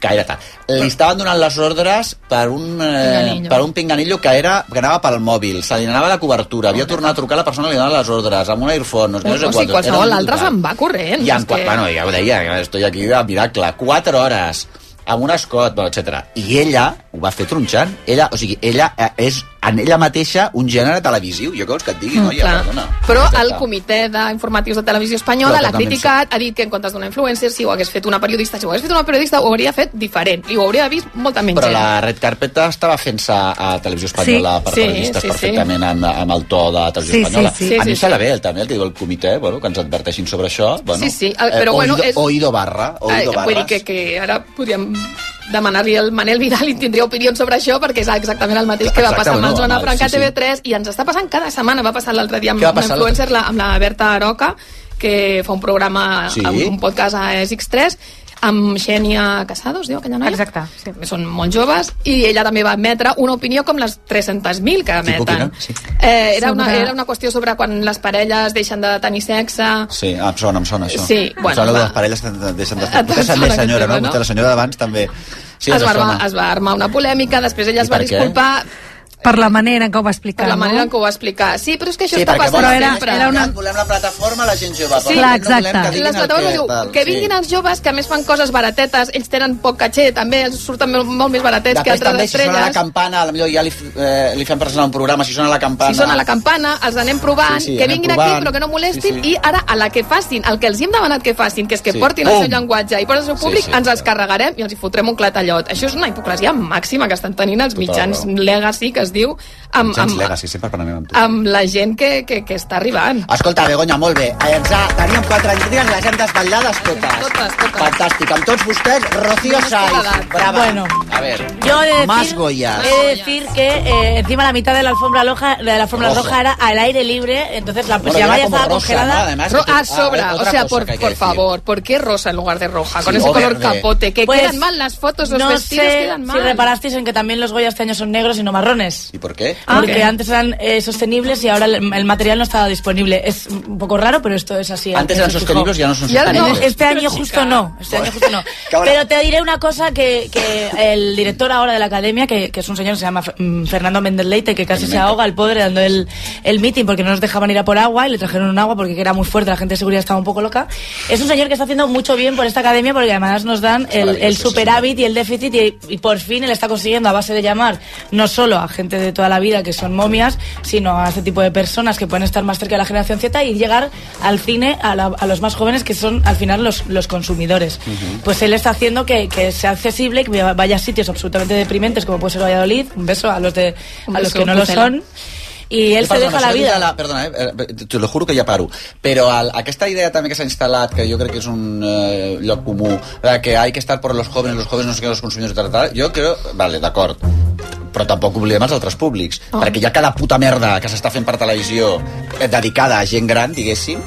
que era tal. Li estaven donant les ordres per un, eh, Pinganillo. per un pinganillo que, era, que anava pel mòbil, se li anava la cobertura, havia tornat a trucar a la persona que li donava les ordres, amb un airphone, no sé, O, no sé o sigui, quantos. Era qualsevol brutal. altre se'n va corrent. I en, Doncs és que... que- bueno, ja ho deia, que estoy aquí de miracle. 4 hores amb un escot, bueno, etc. I ella ho va fer tronxant. Ella, o sigui, ella eh, és en ella mateixa un gènere televisiu. Jo què vols que et digui, noia? Mm, Clar. Perdona. Però Ja el està. comitè d'informatius de Televisió Espanyola Clar, l'ha totalment criticat, ha dit que en comptes d'una influencer, si ho hagués fet una periodista, si ho hagués fet una periodista, ho hauria fet diferent, i ho hauria vist molta menys Però gent. la red carpeta estava fent-se a Televisió Espanyola Sí, per sí, periodistes sí, sí. perfectament amb, amb el to de Televisió Sí, sí, Espanyola. sí. a Sí, mi sí, se la ve el, també el que diu el comitè, bueno, que ens adverteixin sobre això. Bueno, Eh, Sí, sí, el- però bueno, oído, és- oído barra, Eh, oído Vull barras. dir que, que ara podríem demanar-li al Manel Vidal i tindria opinions sobre això perquè és exactament el mateix que va Exacte, passar amb no, el Joan home, Franca sí, sí. TV3 i ens està passant cada setmana, va passar l'altre dia amb Què va una passar influencer, la, amb la Berta Aroca que fa un programa, Sí. sí. un, un podcast a X3 amb Xènia Casados, diu aquella noia? Exacte, sí. Són molt joves i ella també va emetre una opinió com les 300.000 que Tipo emeten. quina? Sí. Eh, era, una, Sobre- era una qüestió sobre quan les parelles deixen de tenir sexe... Sí, ah, em sona, em sona això. Sí, bueno, em sona va. de les parelles que de- deixen de Et- fer. et Vostè també, sona que senyora, sona, no? no? Vostè, la senyora d'abans, també. Sí, es, ens va sona. armar, es va armar una polèmica, després ella I es va per què? disculpar Per la manera en què ho va explicar, per la manera en no? què ho va explicar. Sí, però és que Sí, això està perquè passant volen- Però era- sempre. era una- Volem la plataforma a la gent jove. Sí, Clar, però no volem que exacte. diguin les el plataformes que diu tal, que sí. vinguin els joves, que a més fan coses baratetes, ells tenen poc catxer, també, els surten molt, molt més baratets Després que també, altres si sona la estrelles. campana, potser ja li, f- eh, li fem presentar un programa, si sona la campana... si sona la campana, els anem provant, Sí, sí, que anem vinguin provant. aquí però que no molestin, Sí, sí. i ara a la que facin, el que els hi hem demanat que facin, que és que Sí. portin el Pum. seu llenguatge i portin el seu Sí, públic, sí, ens els carregarem i els hi fotrem un clatallot. Això és una hipocresia màxima que estan tenint els Total mitjans raó. legacy, que es diu, amb, Mitjans amb, Legacy, sempre per anar amb tu. amb la gent que, que, que està arribant. Escolta, Begoña, molt bé. Ens ha, teníem quatre intrigues, les hem desvetllades totes. Totes, totes. Fantàstic. Amb tots vostès, Rocío Només Saiz. queda edat. Brava. Bueno. A ver. Yo he de decir, Más Goyas. he de decir que eh, encima la mitad de la alfombra roja, de la alfombra Rojo. roja era al aire libre, entonces la, pues, Bueno, la era malla como estaba rosa, ¿no? congelada. Además, Ro- que tú- a sobra, ah, o otra sea, cosa por, que hay que por decir. favor, ¿por qué rosa en lugar de roja? Con Sí, ese o color verde. capote, que Pues, quedan mal las fotos, los no vestidos sé quedan mal. si reparasteis en que también los Goya este año son negros y no marrones. ¿Y por qué? Ah, Porque antes eran eh, sostenibles y ahora el, el material no estaba disponible. Es un poco raro, pero esto es así. Antes eran se fijó. sostenibles, ya no son Y ahora no. sostenibles. Este Pero año chica. justo no, este año justo no. Cabrón. Pero te diré una cosa que, que el director ahora de la academia, que, que es un señor que se llama F- mm, Fernando Méndez Leite, que casi Me se encanta. ahoga el pobre dando el, el meeting porque no nos dejaban ir a por agua y le trajeron un agua porque era muy fuerte, la gente de seguridad estaba un poco loca. Es un señor que está haciendo mucho bien por esta academia porque además nos dan el, maravilloso el ese señor. superávit y el déficit y, y por fin él está consiguiendo a base de llamar no solo a gente de toda la vida que son momias, sino a este tipo de personas que pueden estar más cerca de la generación Z y llegar al cine a, la- a los más jóvenes que son al final los, los consumidores. Pues él está haciendo que, que sea accesible, que vaya a sitios absolutamente deprimentes como puede ser Valladolid. Un beso a los, de, Un a los beso, que no lo Pucela. son. Y él se Perdona, deja la això que dius vida. de perdona, eh, eh, te lo juro que ja paro. Però el, aquesta idea també que s'ha instal·lat, que jo crec que és un eh, lloc comú, eh, que hay que estar por los jóvenes, los jóvenes no sé què, los consumidors, tal, tal, jo crec... Vale, d'acord. Però tampoc oblidem els altres públics. Oh. Perquè hi ha cada puta merda que s'està fent per televisió eh, dedicada a gent gran, diguéssim,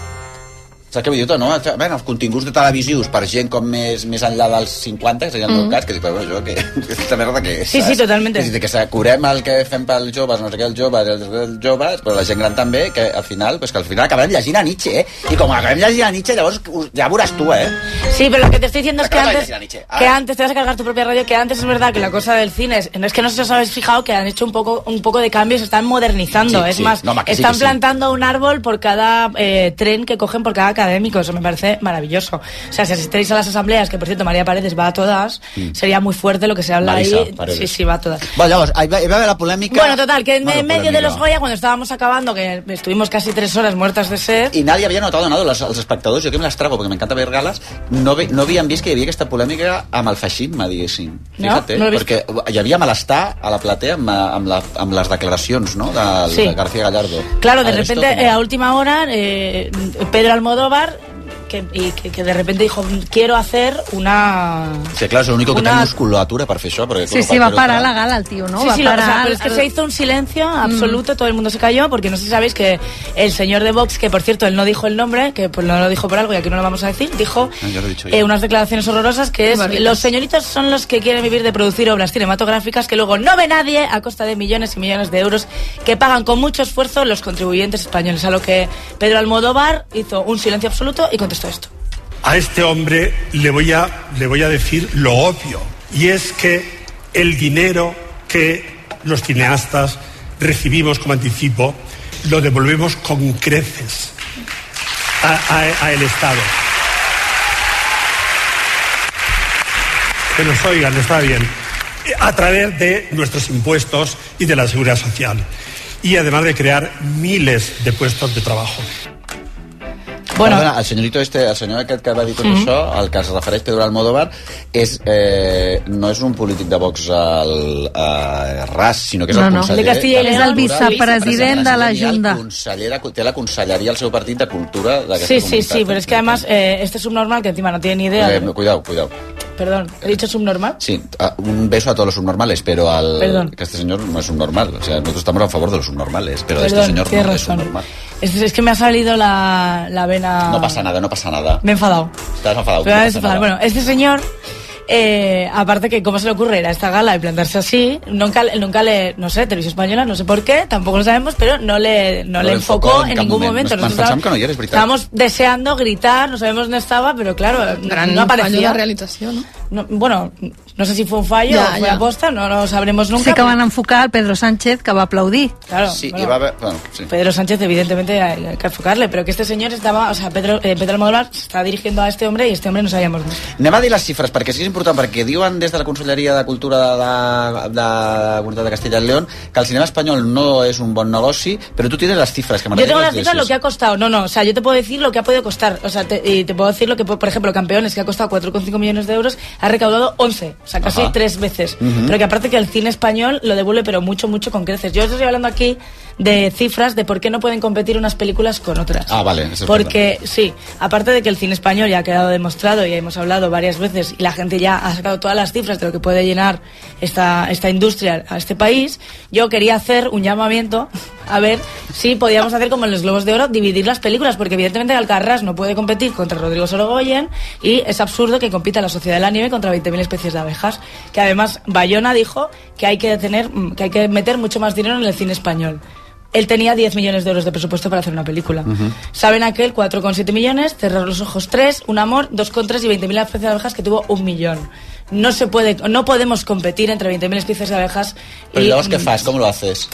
Saps què vull dir? tu, No? Bueno, els continguts de televisius per gent com més, més enllà dels 50, que seria el meu Mm. cas, que dic, però bueno, jo, que, aquesta merda que és, Sí, sí, saps? totalment. És a dir, que sa- curem el que fem pels joves, no sé què, els joves, els, els joves, però la gent gran també, que al final, pues, que al final acabem llegint a Nietzsche, eh? I com acabem llegint a Nietzsche, llavors us- ja veuràs tu, eh? Sí, pero lo que te estoy diciendo es que Acaba de antes, decir la Nietzsche. que Ah. antes te vas a cargar tu propia radio, que antes es verdad que la cosa del cine es, no es que no sé si os habéis fijado que han hecho un poco, un poco de cambios, están modernizando, Sí, es sí. más, No, ma, que sí, están que sí. plantando un árbol por cada eh, tren que cogen por cada académico, eso me parece maravilloso. O sea, si asistéis a las asambleas, que por cierto María Paredes va a todas, sería muy fuerte lo que se habla Mm. Marisa ahí. Paredes. Sí, sí, va a todas. Bueno, llavors, hi va, hi va haver la polèmica... Bueno, total, que en Bueno, en medio de polèmica. los Goya, cuando estábamos acabando, que estuvimos casi tres horas muertas de sed, I nadie havia notat, no, els, els espectadors, jo que me les trago, perquè m'encanta veure gales, no, ve, no havien vist que hi havia aquesta polèmica amb el feixisme, diguéssim. No, no l'he vist. perquè hi havia malestar a la platea amb, amb, la, amb les declaracions, no?, de, Sí. de García Gallardo. Claro, de ¿Habéis repente, visto eh, cómo? a última hora, eh, Pedro Almodóvar, que, y que, que de repente dijo, quiero hacer una... Sí, claro, és l'únic que Una- té musculatura per fer això, perquè... Sí, sí, va parar la gala el tio, no? sí, va Mm. sí, lo que parar... sea, pero es que se hizo un silencio absoluto, todo el mundo se cayó, porque no sé si sabéis que el señor de Vox, que por cierto, él no dijo el nombre, que pues, no lo dijo por algo y aquí no lo vamos a decir, dijo Ah, ya lo he dicho eh, yo. unas declaraciones horrorosas que es, Barritas. los señoritos son los que quieren vivir de producir obras cinematográficas que luego no ve nadie a costa de millones y millones de euros que pagan con mucho esfuerzo los contribuyentes españoles, a lo que Pedro Almodóvar hizo un silencio absoluto y contestó esto. A este hombre le voy a, le voy a decir lo obvio, y es que el dinero que los cineastas recibimos como anticipo lo devolvemos con creces a, a- a el Estado. Que nos oigan, está bien. A través de nuestros impuestos y de la seguridad social. Y además de crear miles de puestos de trabajo. Bueno. Perdona, el senyorito este, el senyor aquest que va dir tot Mhm. mm -hmm. això, al que es refereix Pedro Almodóvar, és, eh, no és un polític de Vox al, a RAS, sinó que és No, el no. conseller... De Castilla i de León. Cultura, És el vicepresident de la i el Junta. Consellera, té la conselleria al seu partit de cultura d'aquesta Sí, sí, comunitat. sí, pero es que además eh, este subnormal, que encima no tiene ni idea, Eh, cuidao, cuidao. perdón, he dicho subnormal. Sí, a- un beso a todos los subnormales, pero al Perdón. que este señor no es un normal. O sea, nosotros estamos a favor de los subnormales, pero este Perdón, señor no tienes es un razón. Ah. normal. Es, es que me ha salido la, la vena... No pasa nada, no pasa nada. Me he enfadado. Estás enfadado. Me no he pasa nada. enfadado. Bueno, este señor, eh, aparte que cómo se le ocurre ir a esta gala y plantarse así, nunca, le- nunca le, no sé, Televisión Española, no sé por qué, tampoco lo sabemos, pero no le, no No le le enfocó, enfocó en en cap ningún moment. momento. Nos pensamos que no eres británico. estábamos deseando gritar, no sabemos dónde estaba, pero claro, Gran no fallo de aparecía. realització, no? No, bueno, No sé si fue un fallo Ya, o fue ya. aposta, no lo sabremos nunca. Sé que pero- van enfocar el Pedro Sánchez, que va aplaudir. Claro, bueno. Pedro Sánchez, evidentemente, hay hay que enfocarle, pero que este señor estaba, o sea, Pedro, eh, Pedro Almodóvar se está dirigiendo a este hombre y este hombre no sabíamos mucho. Anem a dir les xifres, perquè sí que és important, perquè diuen des de la Conselleria de Cultura de, de, de la Comunitat de Castella i León que el cinema espanyol no és un bon negoci, però tu tienes les xifres. Que Yo tengo m'agradaria las que cifras, lo que ha costado. No, no, o sea, yo te puedo decir lo que ha podido costar. O sea, te, y te puedo decir lo que, por por ejemplo, Campeones, que ha costado 4,5 millones de euros, ha recaudado 11, o sea, casi Ajá. tres veces. Ujú. Pero que aparte que el cine español lo devuelve, pero mucho, mucho con creces. Yo os estoy hablando aquí de cifras de por qué no pueden competir unas películas con otras. Ah, vale, eso es Porque sí, aparte de que el cine español ya ha quedado demostrado y hemos hablado varias veces y la gente ya ha sacado todas las cifras de lo que puede llenar esta, esta industria a este país, yo quería hacer un llamamiento a ver si podíamos hacer como en los Globos de Oro, dividir las películas, porque evidentemente Alcarrás no puede competir contra Rodrigo Sorogoyen y es absurdo que compita la Sociedad de la Nieve contra 20.000 especies de abejas, que además Bayona dijo que hay que, tener, que hay que meter mucho más dinero en el cine español. Él tenía 10 millones de euros de presupuesto para hacer una película. Saben aquel 4,7 millones, cerrar los ojos 3, un amor 2,3 y 20.000 especies de abejas que tuvo un millón. No se puede, no podemos competir entre 20.000 especies de abejas Però y llavors què mm, fas? Com lo haces?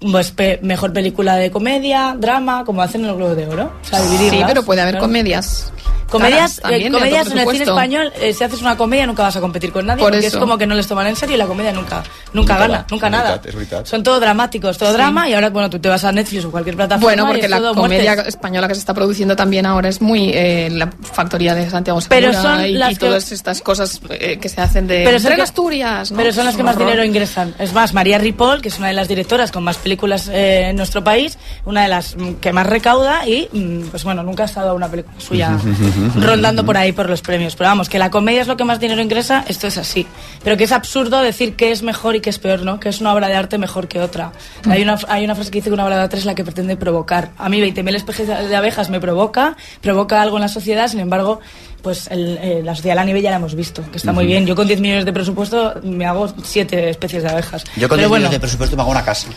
pues pe- mejor película de comedia, drama, como hacen en el Globo de Oro. O sea, dividirlas. Sí, pero puede haber Claro. comedias. Comedias, Claro, eh, también, de comedias otro en el cine presupuesto. español, eh, si haces una comedia nunca vas a competir con nadie, Por porque eso. es como que no les toman en serio y la comedia nunca, nunca, gana, va, nunca es nada. veritat, és veritat. Son todo dramáticos, todo Sí. drama y ahora bueno, tú te vas a Netflix o cualquier plataforma Bueno, y porque es la todo comedia muertes. española que se está produciendo también ahora es muy eh, la factoría de Santiago Segura Pero son y, las y que- todas estas cosas eh, que se hacen de Pero son Tren que- Asturias, ¿no? Pero son las Es que un más horror. dinero ingresan. Es más, María Ripoll, que es una de las directoras con más películas eh, en nuestro país, una de las mm, que más recauda y, mm, pues bueno, nunca ha estado una película suya rondando por ahí por los premios. Pero vamos, que la comedia es lo que más dinero ingresa, esto es así. Pero que es absurdo decir que es mejor y que es peor, ¿no? Que es una obra de arte mejor que otra. Hay una, hay una frase que dice que una obra de arte es la que pretende provocar. A mí 20.000 especies de abejas me provoca, provoca algo en la sociedad, sin embargo, pues el- eh, la sociedad de la nieve ya la hemos visto, que está muy Ujú. bien. Yo con 10 millones de presupuesto me hago 7 especies de abejas. Jo quan Pero bueno. bueno, de pressupost m'hago una casa.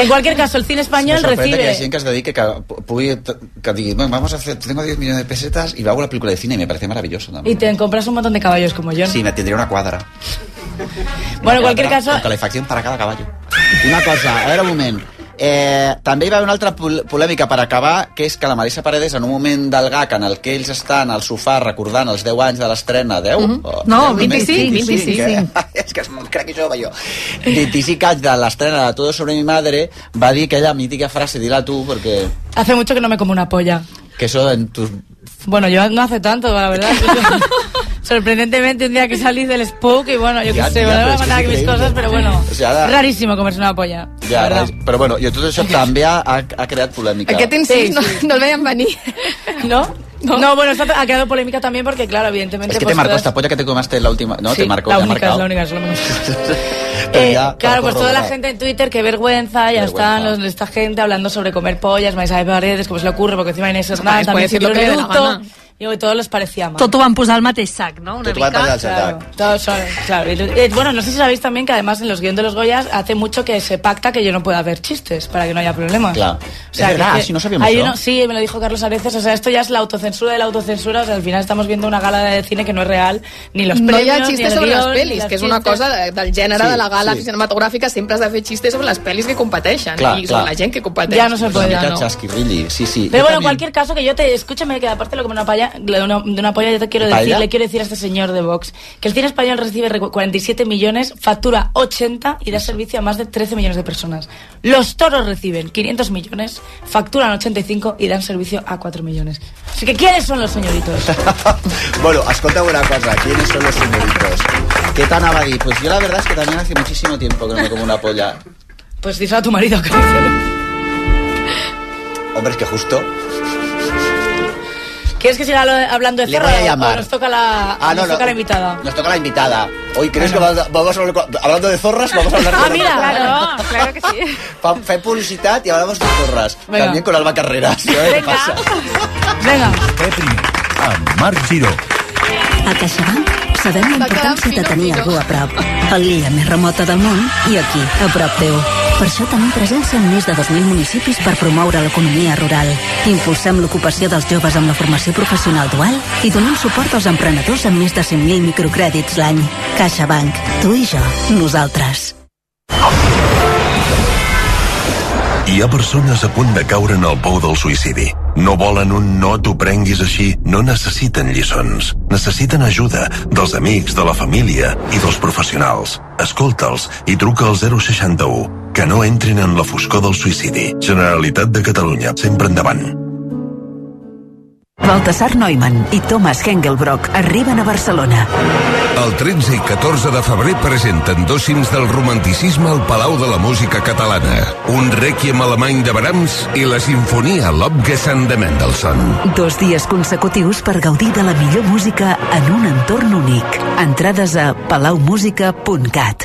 en cualquier caso, el cine Me español sorprende que hi recibe... hagi gent que es dedique que, pu- pugui, t- que digui, bueno, vamos a hacer, tengo 10 millones de pesetas y hago la película de cine y me parece maravilloso. També. Y te compras un montón de caballos como yo. Sí, me tendría una cuadra. Bueno, en cualquier caso, Con calefacción para cada caballo. Una cosa, a veure un moment. Eh, també hi va haver una altra pol- polèmica per acabar, que és que la Marisa Paredes, en un moment del GAC en el que ells estan al sofà recordant els 10 anys de l'estrena, 10? Mhm. Mm -hmm. No, 25, Eh? és que crec que jove jo. 25 anys de l'estrena de Todo sobre mi madre, va dir aquella mítica frase, dila tu, perquè... hace mucho que no me como una polla. Que eso en tus... Bueno, yo no hace tanto, la verdad. Sorprendentemente, un día que salís del spook y bueno, yo Ya, qué sé, ya, me pero es que van a es mandar aquí mis increíble. cosas, pero bueno, O sea, ara- rarísimo comerse una polla. Ja, però bueno, i tot això també ha, ha, ha creat polèmica. Aquest incís no, no el veiem venir. ¿No? No, bueno, esto ha quedado polémica también porque, claro, evidentemente... Es que te pues, marcó todas- esta polla que te comaste la última... No, Sí, te marcó, la te ha única, es marcado. la única, es la única. Pero ya, para Claro, pues toda la corroborar. gente en Twitter, qué vergüenza, ya están los- esta gente hablando sobre comer pollas, Maisa de Paredes, cómo se pues le ocurre, porque encima Inés Hernándaz puede también se decir lo tiró que le dé un la eructo. gana. Y hoy todos les parecía mal. Tot ho van posar al mateix sac, no? Una Tot ho van mica. posar al sac. Claro, todos son- claro. Y, eh, bueno, no sé si sabéis también que además en los guiones de los Goyas hace mucho que se pacta que yo no pueda ver chistes para que no haya problemas. Claro. O sea, es verdad, que- si no sabíamos hay eso. uno- sí, me lo dijo Carlos Areces. O sea, esto ya es la autocensura de la autocensura. O sea, al final estamos viendo una gala de cine que no es real, ni los no hi premios, ha ni xistes el sobre les guión, ni pel·lis, los que és una chistes. cosa de, del gènere Sí, de la gala sí. cinematogràfica, sempre has de fer xistes sobre les pel·lis que competeixen Clar, i clar. sobre la gent que competeix. Ja no se puede, Una mica no. chasquirrilli, sí, sí. Yo Pero bueno, en también. cualquier caso, que yo te escúchame, que aparte lo que una palla, de una, de una polla, yo te quiero ¿Palla? decir, le quiero decir a este señor de Vox, que el cine español recibe recu- 47 millones, factura 80 y da servicio a más de 13 millones de personas. Los toros reciben 500 millones, facturan 85 y dan servicio a 4 millones. Así que, ¿quiénes son los señoritos? Bueno, escolta una cosa, ¿quiénes son los señoritos? ¿Qué tan abadí? Pues yo la verdad es que también hace muchísimo tiempo que no me como una polla. Pues díselo a tu marido, que Hombre, es que justo. ¿Quieres que siga lo- hablando de Le cerro voy a o- llamar. o nos toca la, Ah, no, nos no. toca la invitada? Nos toca la invitada. Hoy, ¿crees que va- vamos a hablar con- hablando de zorras? Vamos a hablar con Ah, mira, Alba claro, claro que sí. Fa- Fe publicidad y hablamos de zorras. Venga. También con Alba Carreras. ¿no? ¿Qué pasa? Venga. Fer primer, amb Marc Giró. A CaixaBank Sabem la importància de tenir algú a prop. A l'illa més remota del món i aquí, a prop teu. Per això tenim presència en més de 2.000 municipis per promoure l'economia rural. Impulsem l'ocupació dels joves amb la formació professional dual i donem suport als emprenedors amb més de 100.000 microcrèdits l'any. CaixaBank. Tu i jo. Nosaltres. Hi ha persones a punt de caure en el pou del suïcidi. No volen un no t'ho prenguis així, no necessiten lliçons. Necessiten ajuda dels amics, de la família i dels professionals. Escolta'ls i truca al 061. Que no entrin en la foscor del suïcidi. Generalitat de Catalunya, sempre endavant. Baltasar Neumann i Thomas Hengelbrock arriben a Barcelona. El 13 i 14 de febrer presenten dos cims del romanticisme al Palau de la Música Catalana. Un rèquiem alemany de Brahms i la sinfonia L'Obgesand de Mendelssohn. Dos dies consecutius per gaudir de la millor música en un entorn únic. Entrades a palaumusica.cat.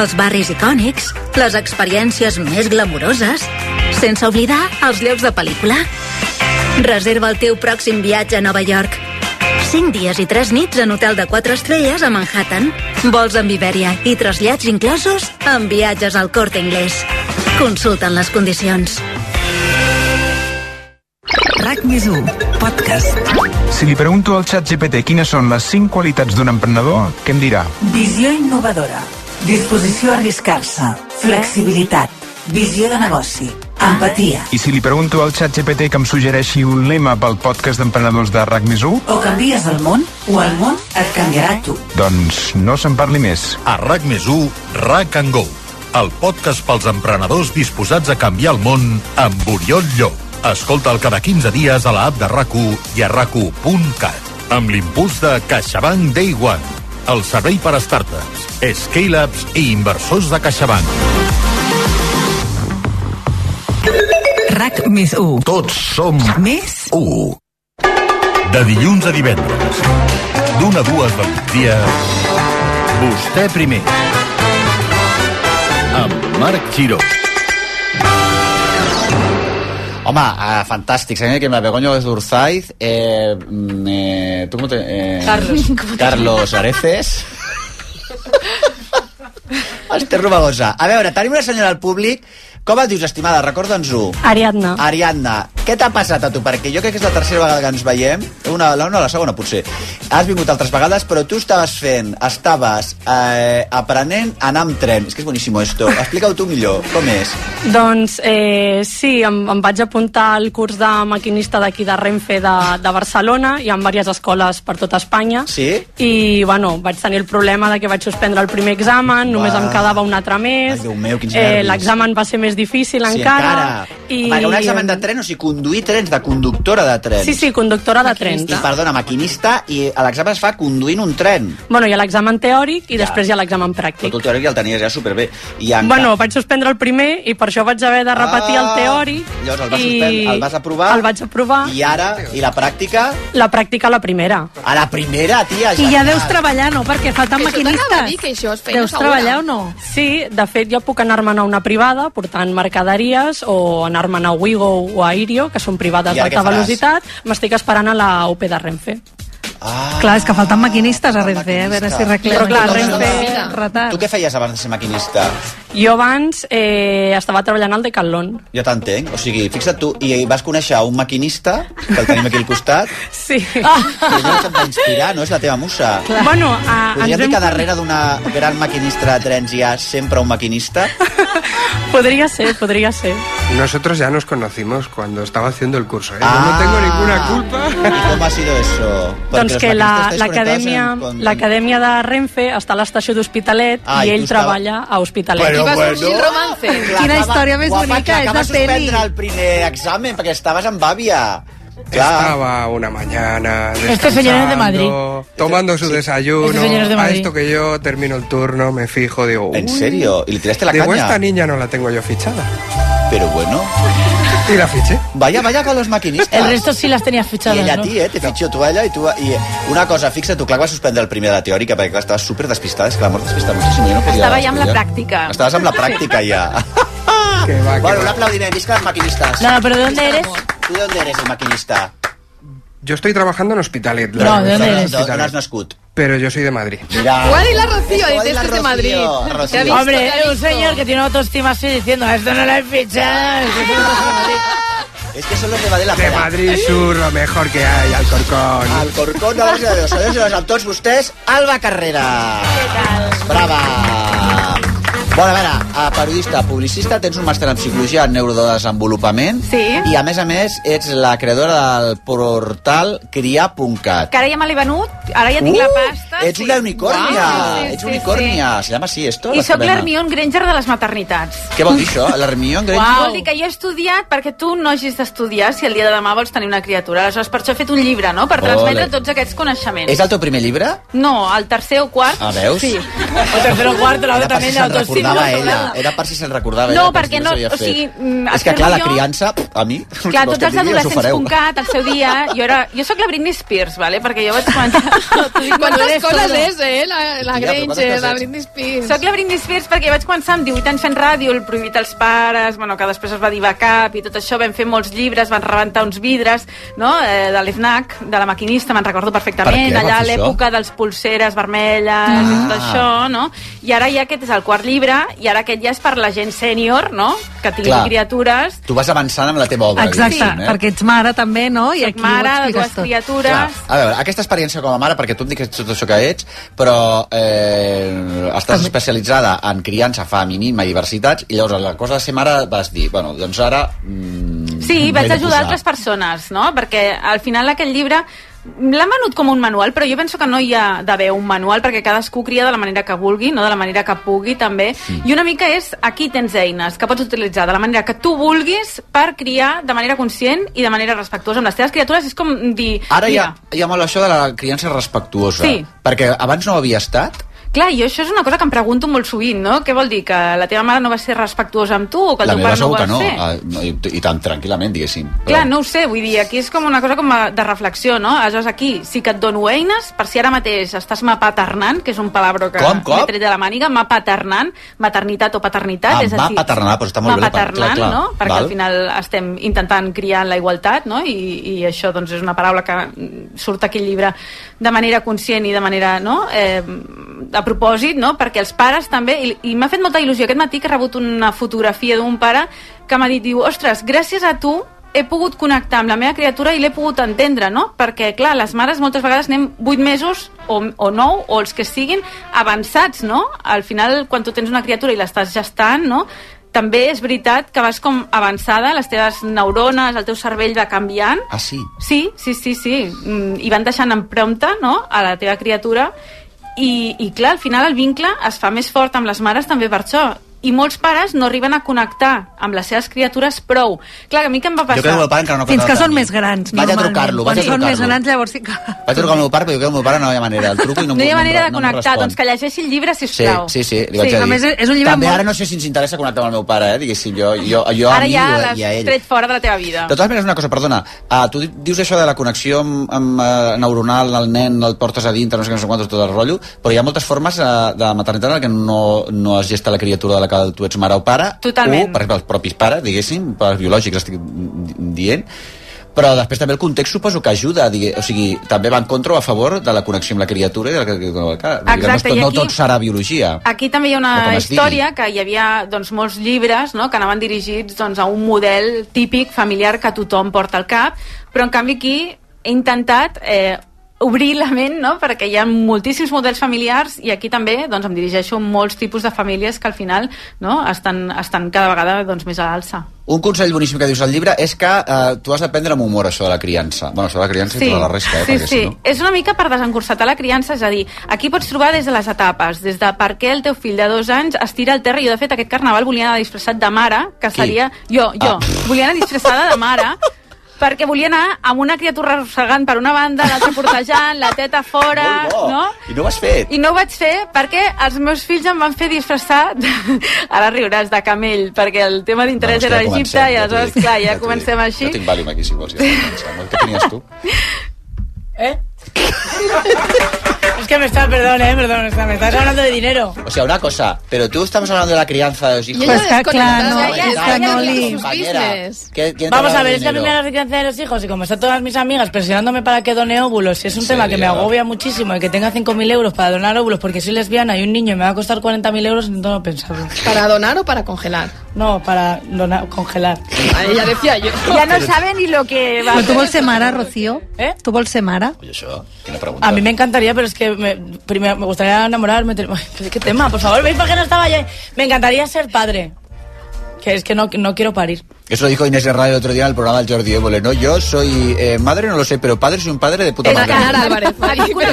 els barris icònics, les experiències més glamuroses, sense oblidar els llocs de pel·lícula. Reserva el teu pròxim viatge a Nova York. 5 dies i 3 nits en hotel de 4 estrelles a Manhattan. Vols amb Iberia i trasllats inclosos amb viatges al Corte Inglés. Consulta'n les condicions. RAC més 1, podcast. Si li pregunto al xat GPT quines són les 5 qualitats d'un emprenedor, què em dirà? Visió innovadora. Disposició a arriscar-se. Flexibilitat. Visió de negoci. Empatia. I si li pregunto al xat GPT que em suggereixi un lema pel podcast d'emprenedors de RAC més 1, O canvies el món, o el món et canviarà a tu. doncs no se'n parli més. A RAC més 1, RAC and Go, el podcast pels emprenedors disposats a canviar el món amb Oriol Llop. Escolta'l cada 15 dies a la app de rac i a rac amb l'impuls de CaixaBank Day One, el servei per a startups, scale-ups i inversors de CaixaBank. RAC més 1. Tots som més 1. De dilluns a divendres, d'una a dues del migdia, vostè primer. Amb Marc Giró. Home, ah, fantàstic, senyora, que la Begoña Urzaiz, eh, mm, eh, tu com te... Eh, Carlos. ¿Cómo te- Carlos Areces. Esther Romagosa. A veure, tenim una senyora al públic. Com et dius, estimada? Recorda'ns-ho. Ariadna. Ariadna, què t'ha passat a tu? Perquè jo crec que és la tercera vegada que ens veiem, una, la, no, la segona potser. Has vingut altres vegades, però tu estaves fent, estaves eh, aprenent a anar amb tren. És que és boníssim, esto. Explica-ho tu millor, com és? Doncs eh, sí, em, em vaig apuntar al curs de maquinista d'aquí de Renfe de, de Barcelona i en diverses escoles per tota Espanya. Sí? I, bueno, vaig tenir el problema de que vaig suspendre el primer examen, només Va. em quedava un altre més. Déu meu, quins Eh, nervis. L'examen va ser més difícil Sí, encara. I... Perquè un examen de tren, o sigui, conduir trens, de conductora de trens. Sí, sí, conductora de trens. I, perdona, maquinista, i a l'examen es fa conduint un tren. Bueno, hi ha l'examen teòric i Ja. després hi ha l'examen pràctic. Tot el teòric ja el tenies ja superbé. I en Bueno, vaig suspendre el primer i per això vaig haver de repetir el Ah, teòric. llavors el vas suspendre, el vas aprovar? El vaig aprovar. I ara, i la pràctica? La pràctica a la primera. A la primera, tia, I ja deus treballar, no? Perquè falten Que això t'anava maquinistes. a dir, que això és feina Deus segura. treballar o no? Sí, de fet, jo puc anar-me'n a una privada portant mercaderies o anar-me'n a Wigo o a Irio, que són privades I ara què d'alta faràs? velocitat. M'estic esperant a la UP de Renfe. Ah, Clar, és que falten maquinistes a Renfe, eh? a veure si arreglem. Però clar, aquesta Renfe... cosa. Tu què feies abans de ser maquinista? Jo abans eh, estava treballant al Decathlon. Jo t'entenc, o sigui, fixa't tu, i vas conèixer un maquinista, que el tenim aquí al costat, Sí. i no se't va inspirar, no és la teva musa. Clar. Bueno, a, Podríem dir que darrere d'una gran maquinista de trens hi ha sempre un maquinista? Podria ser, podria ser. Nosotros ya nos conocimos cuando estaba haciendo el curso. ¿eh? Yo Ah. no tengo ninguna culpa. ¿Y cómo ha sido eso? Doncs que la- l'acadèmia l'acadèmia de Renfe està a l'estació d'Hospitalet Ah, i i tu ell estava- treballa a Hospitalet. Bueno, Aquí va bueno. sorgir el romance. Quina història més bonica, és de Acabes peli. suspendre el primer examen perquè estaves amb àvia. Estaba una mañana Este señor es de Madrid. descansando, tomando su desayuno. Este señor es de a Madrid. esto que yo termino el turno, me fijo, digo. ¿En "Uy". serio? ¿Y le tiraste la digo, caña? esta niña no la tengo yo fichada. Pero bueno. Y la fiché. Vaya, vaya con los maquinistas. El resto sí las tenías fichadas, I ella no? a ti, eh? T'he fitxat tu a ella i tu... A... I una cosa, fixa, tu clar que vas suspendre el primer de la teòrica perquè clar, estaves super despistada, és que la mort despista moltíssim. Jo no podia Estava ja amb la estudiar. pràctica. Estaves amb la pràctica ja. que va, bueno, un aplaudiment, visca els maquinistes. No, no, pero ¿de dónde eres? Tu de dónde eres, el maquinista? Yo estoy trabajando en Hospitalet. la No, ¿de verdad, dónde en eres? ¿De dónde Hospitalet. has nascut? Pero yo soy de Madrid. Igual y la Rocío, Igual y dices la que es de Rocío, Madrid. Rocío. Te ha visto, Hombre, te ha un visto. señor que tiene una autoestima así diciendo, esto no lo he fichado. esto no lo he fichado". Es que son los de Madrid la Ah, De pera. Madrid Sur, lo mejor que hay, Alcorcón. Alcorcón, una base de los senyors i les amb tots vostès, Alba Carrera. Què tal? Brava. Bueno, a veure, eh, periodista, publicista, tens un màster en psicologia en neurodesenvolupament Sí. i, a més a més, ets la creadora del portal criar.cat. Que ara ja me l'he venut, ara ja tinc la pasta. Ets una unicòrnia, Uau, sí, sí, ets sí, unicòrnia. Sí, sí. Se llama així, esto? I sóc Barcelona. l'Hermione Granger de les maternitats. Què vol dir això? L'Hermion Granger? Vol dir que jo he estudiat perquè tu no hagis d'estudiar si el dia de demà vols tenir una criatura. Aleshores, per això he fet un llibre, no? Per transmetre Ole. tots aquests coneixements. És el teu primer llibre? No, el tercer o quart... Ah, veus? Sí. O tercero, cuarto, la Era per si otra también de se'n autoestima. recordava ella. Era per si se'n recordava No, ella. per si perquè no- s'havia o fet. sigui, mm, És que, clar, la espero jo- criança, pff, a mi... Clar, vols tots que els et digui, us ho fareu. adolescents.cat, al seu dia, jo, era, jo sóc la Britney Spears, ¿vale? perquè jo vaig començar... Quantes coses és, eh? La, la Granger, la Britney Spears. Soc la Britney Spears perquè vaig començar amb 18 anys fent ràdio, el prohibit als pares, bueno, que després es va dir va cap i tot això, vam fer molts llibres, van rebentar uns vidres, no?, eh, de l'FNAC, de la maquinista, me'n recordo perfectament, Per què allà va a fer Ah. l'època dels pulseres vermelles i tot això, no? I ara ja aquest és el quart llibre, i ara aquest ja és per la gent sènior, no?, que tingui Clar. criatures. Tu vas avançant amb la teva obra, Exacte, diguéssim, eh? perquè ets mare també, no? I aquí mare ho de dues expliques tot. criatures. A veure, aquesta experiència com a mare, perquè tu em dius tot això que ets, però eh, estàs especialitzada en criança femenina i diversitats, i llavors la cosa de ser mare vas dir, bueno, doncs ara... Mm, Sí, m'he vaig de ajudar posar. altres persones, no? Perquè al final aquest llibre l'han venut com un manual, però jo penso que no hi ha d'haver un manual perquè cadascú cria de la manera que vulgui, no de la manera que pugui també, i una mica és aquí tens eines que pots utilitzar de la manera que tu vulguis per criar de manera conscient i de manera respectuosa amb les teves criatures, és com dir... Ara hi ha, mira, hi ha molt això de la criança respectuosa, Sí. perquè abans no ho havia estat, Clar, i això és una cosa que em pregunto molt sovint, no? Què vol dir, que la teva mare no va ser respectuosa amb tu o que el la teu meva pare no ho segur va que no, ser? eh, no, i, i tan tranquil·lament, diguéssim. Clar, no ho sé, vull dir, aquí és com una cosa com a- de reflexió, no? Aleshores, aquí sí que et dono eines per si ara mateix estàs mapaternant, que és un palabra que Com, com? m'he tret de la màniga, mapaternant, maternitat o paternitat, Ah, és a dir... mapaternant, però està molt bé la part- mapaternant, clar, clar, no? Perquè val. al final estem intentant criar en la igualtat, no? I, I això, doncs, és una paraula que mm, surt aquí al llibre de manera conscient i de manera, no?, eh, a propòsit, no?, perquè els pares també... I, i m'ha fet molta il·lusió. Aquest matí que he rebut una fotografia d'un pare que m'ha dit, diu, ostres, gràcies a tu he pogut connectar amb la meva criatura i l'he pogut entendre, no? Perquè, clar, les mares moltes vegades anem 8 mesos o, o 9, o els que siguin, avançats, no? Al final, quan tu tens una criatura i l'estàs gestant, no? També és veritat que vas com avançada, les teves neurones, el teu cervell va canviant. Ah, sí? Sí, sí, sí, sí. Mm, I van deixant empremta, no?, a la teva criatura. I, I, clar, al final el vincle es fa més fort amb les mares també per això. I molts pares no arriben a connectar amb les seves criatures prou. Clar, que a mi què em va crec passar? que el meu pare encara no Fins que Tant. són més grans, Vaig a Doncs normalment. trucar-lo, vaig Quan a són més trucar-lo. grans, llavors sí que... Vaig trucar al meu pare, però jo crec que el meu pare no hi ha manera. El truco i no, No hi em- ha manera de em connectar, respon. doncs que llegeixi el llibre, Sí, sisplau. sí, sí, li vaig Sí, a dir. només és- és un llibre També molt- ara no sé si ens interessa connectar amb el meu pare, eh? diguéssim, jo, jo, jo Ara a mi ja i a- i a l'has ell. tret fora de la teva vida. De totes maneres, una cosa, perdona, uh, tu di- dius això de la connexió amb, amb, uh, neuronal, el nen el portes a dintre, no sé què, no sé quantos, tot el rotllo, però hi ha moltes formes uh, de maternitat en què no, no es gesta la criatura de la que tu ets mare o pare, Totalment. o, per exemple, els propis pares, diguéssim, pares biològics, estic di- dient, però després també el context suposo que ajuda, digue, o sigui, també va en contra o a favor de la connexió amb la criatura i de la criatura. Clar, vull dir que Exacte, no, és tot- i no aquí- tot serà biologia. Aquí també hi ha O una com es digui. història que hi havia doncs, molts llibres no? que anaven dirigits doncs, a un model típic familiar que tothom porta al cap, però en canvi aquí he intentat eh, obrir la ment no? perquè hi ha moltíssims models familiars i aquí també doncs, em dirigeixo a molts tipus de famílies que al final no? estan, estan cada vegada doncs, més a l'alça. Un consell boníssim que dius al llibre és que eh, tu has d'aprendre amb humor això de la criança. Bueno, això de la criança i tota la resta, eh? Sí, perquè sí. si no- És una mica per desencorsetar la criança, és a dir, aquí pots trobar des de les etapes, des de per què el teu fill de dos anys es tira al terra. Jo, de fet, aquest carnaval volia anar disfressat de mare, que Qui? seria... Jo, jo. Ah. Volia anar disfressada de mare, perquè volia anar amb una criatura arrossegant per una banda, l'altra portejant, la teta fora, no? I no ho has fet. I no ho vaig fer perquè els meus fills em van fer disfressar, de... ara riuràs, de camell, perquè el tema d'interès Bueno, era és que ja Egipte comencem, i ja t'ho aleshores, dic, clar, ja ja t'ho comencem així. Jo tinc Valium aquí, si vols, ja estic pensant. Què tenies tu? Es que me está, perdón, eh, perdón, está- me estás hablando de dinero. O sea, una cosa, pero tú estamos hablando de la crianza de los hijos. Y ella Pues está claro, Compañera, es que no compañera, li- compañera. ¿Qué- quién te Vamos habla de a ver, es que a mí me dinero? da la crianza de los hijos y como están todas mis amigas presionándome para que done óvulos, y es un tema que me agobia muchísimo y que tenga 5.000 euros para donar óvulos porque soy lesbiana y un niño y me va a costar 40.000 euros, no lo he pensado. ¿Para donar o para congelar? No, para donar, congelar. Ahí ya decía yo. Ya Ah, no sabe ni lo que va Però a tu hacer. vols ser mare, Rocío? Eh? Tu vols ser mare? A mí me encantaría, pero es que me, primero me gustaría enamorarme. te- Ay, pues, ¿Qué tema? Por favor, ¿veis por qué no estaba yo? Me encantaría ser padre. Que es que no, no quiero parir. Eso lo dijo Inés Herrera el otro día en el programa del Jordi Évole, ¿no? Yo soy eh, madre, no lo sé, pero padre soy un padre de puta madre. Enar Álvarez. Ah,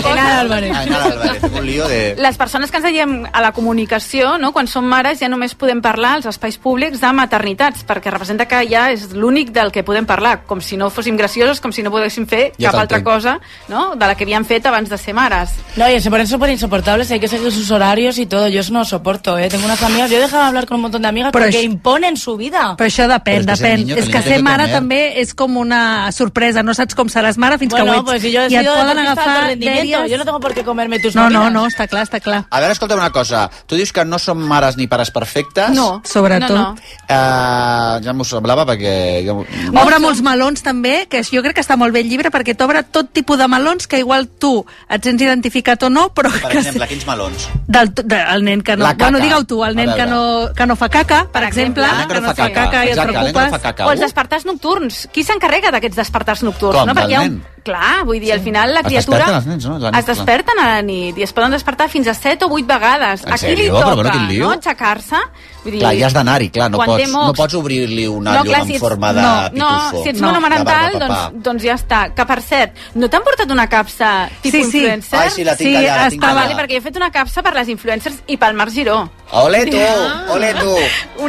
Nara Álvarez, tengo un lío de... les persones que ens veiem a la comunicació, no, quan som mares, ja només podem parlar als espais públics de maternitats, perquè representa que ja és l'únic del que podem parlar, com si no fóssim gracioses, com si no poguéssim fer Ja cap altra t'entenc. cosa no, de la que havien fet abans de ser mares. No, y se ponen súper insoportables, hay que seguir sus horarios y todo. Yo eso no lo soporto, ¿eh? Tengo unas amigas, yo he dejado de hablar con un montón de amigas Pero porque es- imponen su vida. Però això depèn, Però és que és el depèn. niño que És li que ha ser de mare tener. també és com una sorpresa. No saps com seràs mare fins Bueno, que ho ets. pues si yo he I et sido poden deportista de alto agafar rendimiento, dèries... yo no tengo por qué comerme tus No, no, movidas. no, està clar, està clar. A veure, escolta'm una cosa. Tu dius que no som mares ni pares perfectes. No, Sobretot. no, no. Eh, ja m'ho semblava perquè... Jo... Obre molts melons també, que jo crec que està molt bé el llibre perquè t'obre tot tipus de melons que igual tu et sents identificat o no, però Per que exemple, quins melons? del, de, el nen que no... La caca. Bueno, digue-ho tu, el A nen veure. que no, que no fa caca, per exemple, El nen Ah, que no fa caca, i et exacte, el nen que no preocupes. fa caca. O els despertars nocturns. Qui s'encarrega d'aquests despertars nocturns? Com, no? Perquè del hi ha un... Clar, vull dir, al final la Es criatura... desperten els nens, no? La nit, es desperten a la nit i es poden despertar fins a 7 o 8 vegades. En a qui li sèrio? Però toca, bueno, quin lío. no? Aixecar-se. Vull dir, Clar, ja has d'anar-hi, clar, no quan té pots, mocs, no pots obrir-li una no, llum clar, si en ets- forma de no, pitufo. No, si ets no. monomarental, De barba, papà. doncs, doncs ja està. Que, per cert, no t'han portat una capsa tipus Sí, sí. influencer? Ai, sí, la tinc Sí, allà, la tinc estava- allà. Vale, perquè jo he fet una capsa per les influencers i pel Marc Giró. Ole tu, ole tu.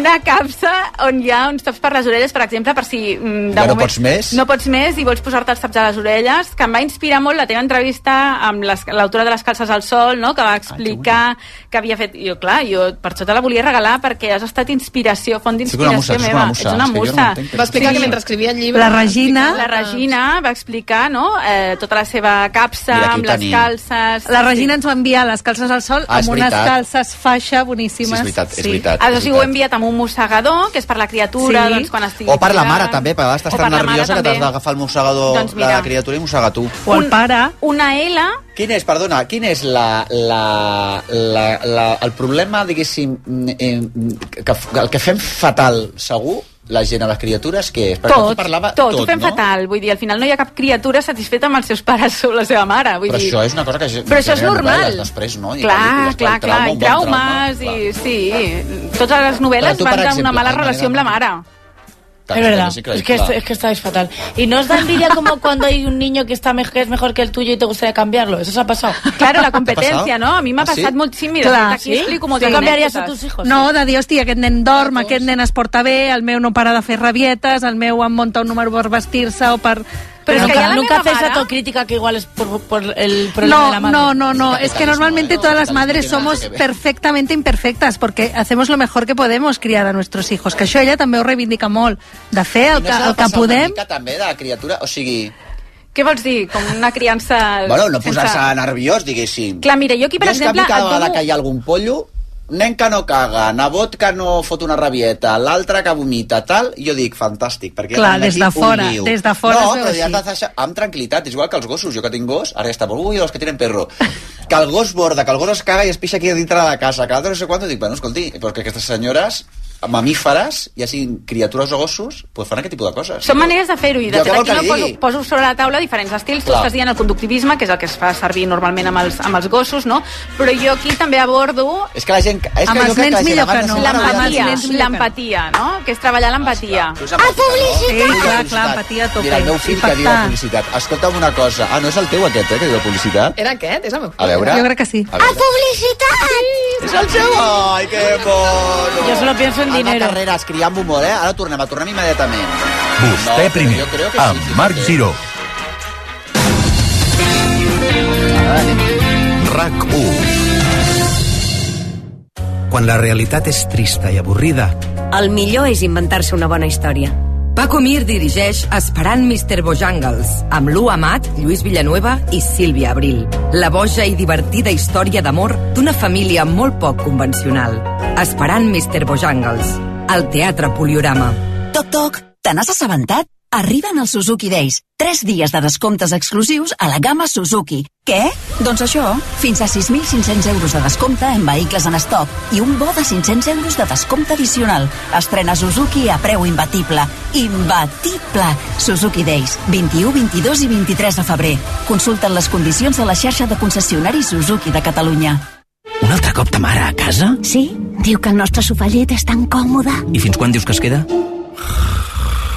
Una capsa on hi ha uns taps per les orelles, per exemple, per si... mm, De Ja no pots més? No pots més i vols posar-te els taps a les orelles, que em va inspirar molt la teva entrevista amb les- l'autora de les calces al sol, no? que Ah, va explicar que havia fet... Jo, clar, jo per això te la volia regalar perquè has estat inspiració, font Sóc una d'inspiració musa, sóc meva. una musa, Ets una és que jo no musa. entenc que Va explicar que mentre escrivia el llibre- La Regina- La Regina va explicar no? eh, tota la seva capsa Mira, aquí amb ho les tenim. calces... La Regina ens va enviar les calces al sol Ah, és amb unes veritat. calces faixa boníssimes. Sí, és veritat, és veritat, Aleshores, és ho hem enviat amb un mossegador, que és per la criatura, Sí. doncs, quan estigui... O per la cuidant. mare, també, perquè a vegades O estàs per tan la mare, nerviosa que t'has també. d'agafar el mossegador Doncs de mira. la criatura i mossegar tu. O el pare... Una L Quin és, perdona, quin és la, la, la, la, el problema, diguéssim, mm, eh, que, que el que fem fatal, segur, la gent a les criatures, què és? tot, tu parlava, tot, ho fem no? fatal. Vull dir, al final no hi ha cap criatura satisfeta amb els seus pares o la seva mare. Vull Però dir, això és una cosa que... Però això és genera normal. novel·les Després, no? I Clar, pel·lícules, clar, pel clar, trauma, i un bon traumes, i sí, totes les Però novel·les tu, per van d'una exemple, mala Elena, relació amb la mare. trauma. Es verdad, Sí, clar, es que, clar. es que estáis fatal. Y no os da envidia como cuando hay un niño que, está mejor, que es mejor que el tuyo y te gustaría cambiarlo. Eso os ha pasado. Claro, la competencia, ¿no? A mí me ha pasado molt... Sí, mira, Clar, aquí explico moltes ¿Tú cambiaries a anècdotes. tus hijos? No, de dir, hòstia, aquest nen dorm, aquest nen es porta bé, el meu no para de fer rabietes, el meu em monta un número per vestir-se o per... Pero nunca- nunca, nunca hacéis ¿eh? mare- autocrítica que igual es por, por el problema de la No, madre. no, no, no. Es que normalmente todas las madres somos que ver. perfectamente imperfectas porque hacemos lo mejor que podemos criar a nuestros hijos. Que això ella també ho reivindica molt. De fer el, I no que, s'ha de el que passar Una podem... mica també de la criatura, o sigui... Què vols dir? Com una criança... Eh, Bueno, no posar-se sense- nerviós, diguéssim. Clar, mira, jo aquí, per jo és que a exemple, mi cada et vegada dono- que hi ha algun pollo, nen que no caga, nebot que no fot una rabieta, l'altre que vomita, tal, jo dic, fantàstic, perquè... Clar, ja tenim des de aquí un fora, niu. des de fora No, es veu però ja així. t'has de deixar amb tranquil·litat, és igual que els gossos, jo que tinc gos, ara ja està molt, ui, els que tenen perro, que el gos borda, que el gos es caga i es pixa aquí dintre de la casa, que l'altre no sé quant, dic, bueno, escolti, però que aquestes senyores mamíferes, ja siguin criatures o gossos, pues fan aquest tipus de coses. Són maneres de fer-ho i de Jo què fet vol aquí que no li poso, digui? poso sobre la taula diferents estils, tu Clar. estàs dient el conductivisme, que és el que es fa servir normalment amb els, amb els gossos, no? Però jo aquí també abordo És que la gent... És que amb jo crec que la gent abans de ser mare hauria de L'empatia, ser- l'empatia, no? Que és treballar l'empatia. Ah, A Sí, clar, clar, empatia a tope. Mira, el meu fill que diu la publicitat. Escolta'm una cosa. Ah, no és el teu aquest, eh, que diu la publicitat? Era aquest? És el meu A veure. Jo crec que sí. A veure. publicitat! És el seu... Ai, que bono! Jo solo pienso en Anna dinero. Carreras, criant humor, eh? Ara tornem, a tornem immediatament. Vostè primer, amb Marc Giró. RAC 1 Quan la realitat és trista i avorrida, El millor és inventar-se una bona història. Paco Mir dirigeix Esperant Mr. Bojangles, amb Lou Amat, Lluís Villanueva i Sílvia Abril. La boja i divertida història d'amor d'una família molt poc convencional. Esperant Mr. Bojangles, al Teatre Poliorama. Toc, toc, te n'has assabentat? Arriben els Suzuki Days. 3 dies de descomptes exclusius a la gamma Suzuki. Què? Doncs això, fins a 6.500 euros de descompte en vehicles en estoc i un bo de 500 euros de descompte addicional. Estrena Suzuki a preu imbatible. Imbatible! Suzuki Days, 21, 22 i 23 de febrer. Consulten les condicions a la xarxa de concessionaris Suzuki de Catalunya. Un altre cop ta mare a casa? Ah, Sí? Diu que el nostre sofà llet és tan còmode. I fins quan dius que es queda?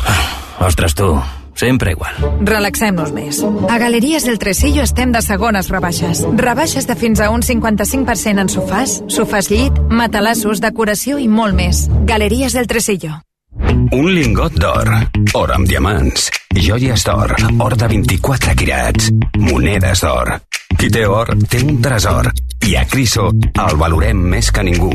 Ah, Ostres, tu, sempre igual. Relaxem-nos més. A Galeries del Tresillo estem de segones rebaixes. Rebaixes de fins a un 55% en sofàs, sofàs llit, matalassos, decoració i molt més. Galeries del Tresillo. Un lingot d'or, or amb diamants, joies d'or, or de 24 quirats, monedes d'or. Qui té or té un tresor i a Criso el valorem més que ningú.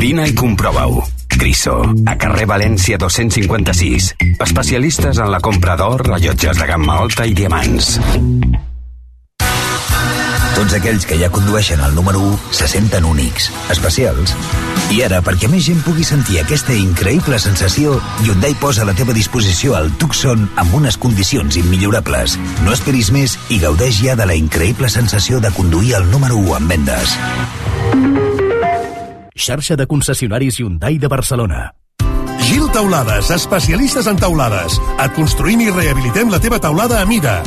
Vine i comprova-ho. Criso, a carrer València 256. Especialistes en la compra d'or, rellotges de gamma alta i diamants. Tots aquells que ja condueixen el número 1 se senten únics, especials. I ara, perquè més gent pugui sentir aquesta increïble sensació, Hyundai posa a la teva disposició el Tucson amb unes condicions immillorables. No esperis més i gaudeix ja de la increïble sensació de conduir el número 1 en vendes. Xarxa de concessionaris Hyundai de Barcelona. Gil Taulades, especialistes en taulades. Et construïm i rehabilitem la teva taulada a mida.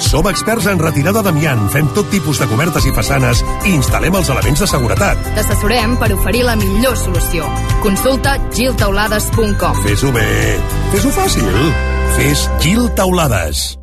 Som experts en retirada d'amiant, fem tot tipus de cobertes i façanes i instal·lem els elements de seguretat. T'assessorem per oferir la millor solució. Consulta giltaulades.com Fes-ho bé, fes-ho fàcil. Fes Gil Taulades.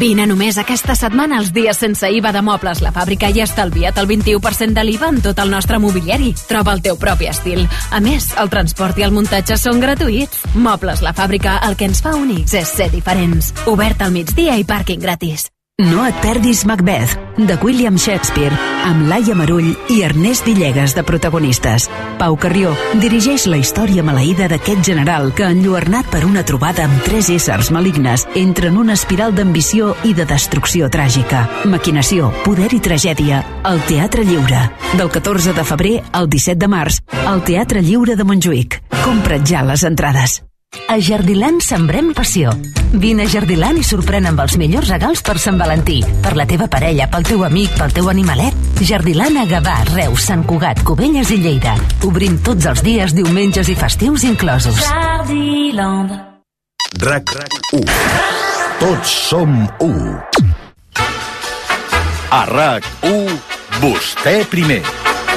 Vine només aquesta setmana als dies sense IVA de Mobles La Fàbrica i estalvia't el 21% de l'IVA en tot el nostre mobiliari. Troba el teu propi estil. A més, el transport i el muntatge són gratuïts. Mobles La Fàbrica, el que ens fa únics és ser diferents. Obert al migdia i pàrquing gratis. No et perdis Macbeth, de William Shakespeare, amb Laia Marull i Ernest Villegas de protagonistes. Pau Carrió dirigeix la història maleïda d'aquest general que, enlluernat per una trobada amb tres éssers malignes, entra en una espiral d'ambició i de destrucció tràgica. Maquinació, poder i tragèdia, al Teatre Lliure. Del 14 de febrer al 17 de març, al Teatre Lliure de Montjuïc. Compra't ja les entrades. A Jardiland sembrem passió. Vine a Jardiland i sorprèn amb els millors regals per Sant Valentí. Per la teva parella, pel teu amic, pel teu animalet. Jardiland a Gavà, Reus, Sant Cugat, Cubelles i Lleida. Obrim tots els dies, diumenges i festius inclosos. Jardiland. RAC 1 Tots som 1 A RAC 1, vostè primer,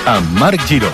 amb Marc Giró.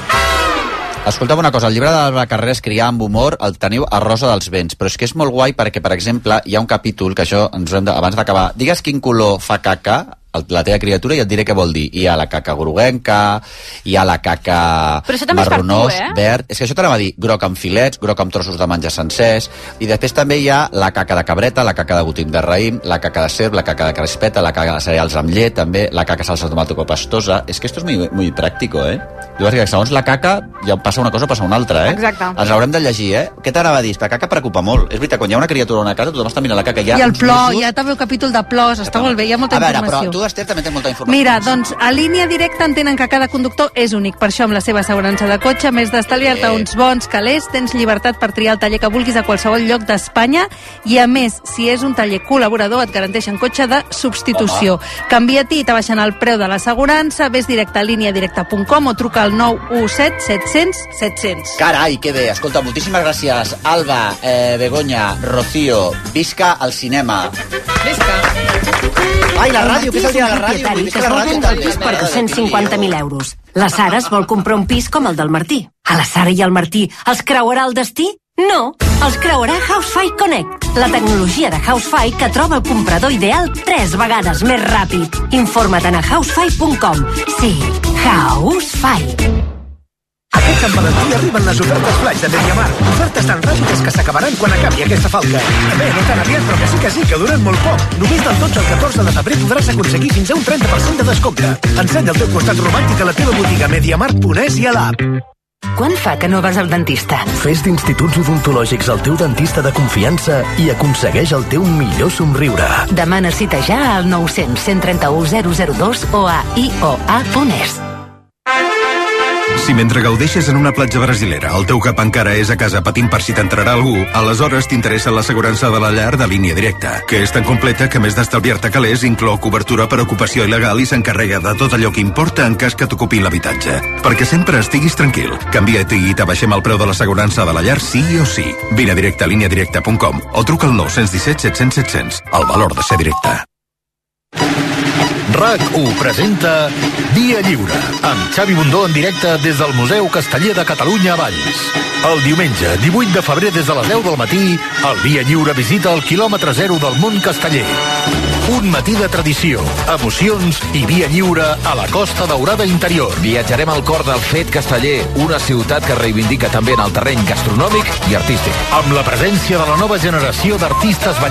Escolteu una cosa, el llibre de la carrera és criar amb humor, el teniu a Rosa dels Vents, però és que és molt guai perquè, per exemple, hi ha un capítol, que això ens ho hem de, abans d'acabar, digues quin color fa caca el- la teva criatura i et diré què vol dir. Hi ha la caca groguenca, hi ha la caca Però això també és per tu, marronós, eh? verd... És que això t'anava a dir groc amb filets, groc amb trossos de menjar sencers, i després també hi ha la caca de cabreta, la caca de gotim de raïm, la caca de cerp, la caca de crespeta, la caca de cereals amb llet, també la caca salsa de tomàtico pastosa... És que esto es muy, muy práctico, eh? Diu que segons la caca ja passa una cosa, passa una altra, eh? Exacte. Ens haurem de llegir, eh? Què t'anava a dir? És que La caca preocupa molt. És veritat, quan hi ha una criatura a una casa, tothom està mirant la caca. I el uns plor, mesos- hi ha també el capítol de plors, està molt bé, hi ha molta a veure, però informació. tu, Esther, també tens molta informació. Mira, doncs, a línia directa entenen que cada conductor és únic. Per això, amb la seva assegurança de cotxe, a més d'estalviar-te Eh. uns bons calés, tens llibertat per triar el taller que vulguis a qualsevol lloc d'Espanya i, a més, si és un taller col·laborador, et garanteixen cotxe de substitució. Home. Canvia-t'hi i t'abaixen el preu de l'assegurança, ves directe a líniadirecta.com o truca al 917 700 700. Carai, que bé. Escolta, moltíssimes gràcies. Alba, eh, Begoña, Rocío, visca al cinema. Ai, la ràdio, que és el dia de la ràdio. propietari Visca que es la vol ràdio vendre el també. pis per Merda de 250.000 euros. La Sara es vol comprar un pis com el del Martí. A la Sara i al Martí els creuarà el destí? No, els creuarà Housefy Connect, la tecnologia de Housefy que troba el comprador ideal tres vegades més ràpid. Informa't a housefy.com. Sí, Housefy. Aquest Sant Valentí arriben les ofertes flash de Mediamar. Ofertes tan ràpides que s'acabaran quan acabi aquesta falca. Bé, no tan aviat, però que sí que sí, que duren molt poc. Només del 12 al 14 de febrer podràs aconseguir fins a un 30% de descompte. Ensenya el teu costat romàntic a la teva botiga Mediamar.es i a l'app. Quan fa que no vas al dentista? Fes d'instituts odontològics el teu dentista de confiança i aconsegueix el teu millor somriure. Demana cita ja al 900 131 002 o a ioa.es. Si mentre gaudeixes en una platja brasilera el teu cap encara és a casa patint per si t'entrarà algú, aleshores t'interessa l'assegurança de la llar de línia directa, que és tan completa que a més d'estalviar-te calés inclou cobertura per ocupació il·legal i s'encarrega de tot allò que importa en cas que t'ocupin l'habitatge. Perquè sempre estiguis tranquil. Canvia-t'hi i t'abaixem el preu de l'assegurança de la llar sí o sí. Vine a directe a líniadirecta.com o truca al 917 700 700. El valor de ser directe. RAC1 presenta Dia Lliure, amb Xavi Bundó en directe des del Museu Casteller de Catalunya a Valls. El diumenge, 18 de febrer, des de les 10 del matí, el Dia Lliure visita el quilòmetre zero del món casteller. Un matí de tradició, emocions i via lliure a la Costa Daurada Interior. Viatjarem al cor del fet casteller, una ciutat que reivindica també en el terreny gastronòmic i artístic. Amb la presència de la nova generació d'artistes ballarins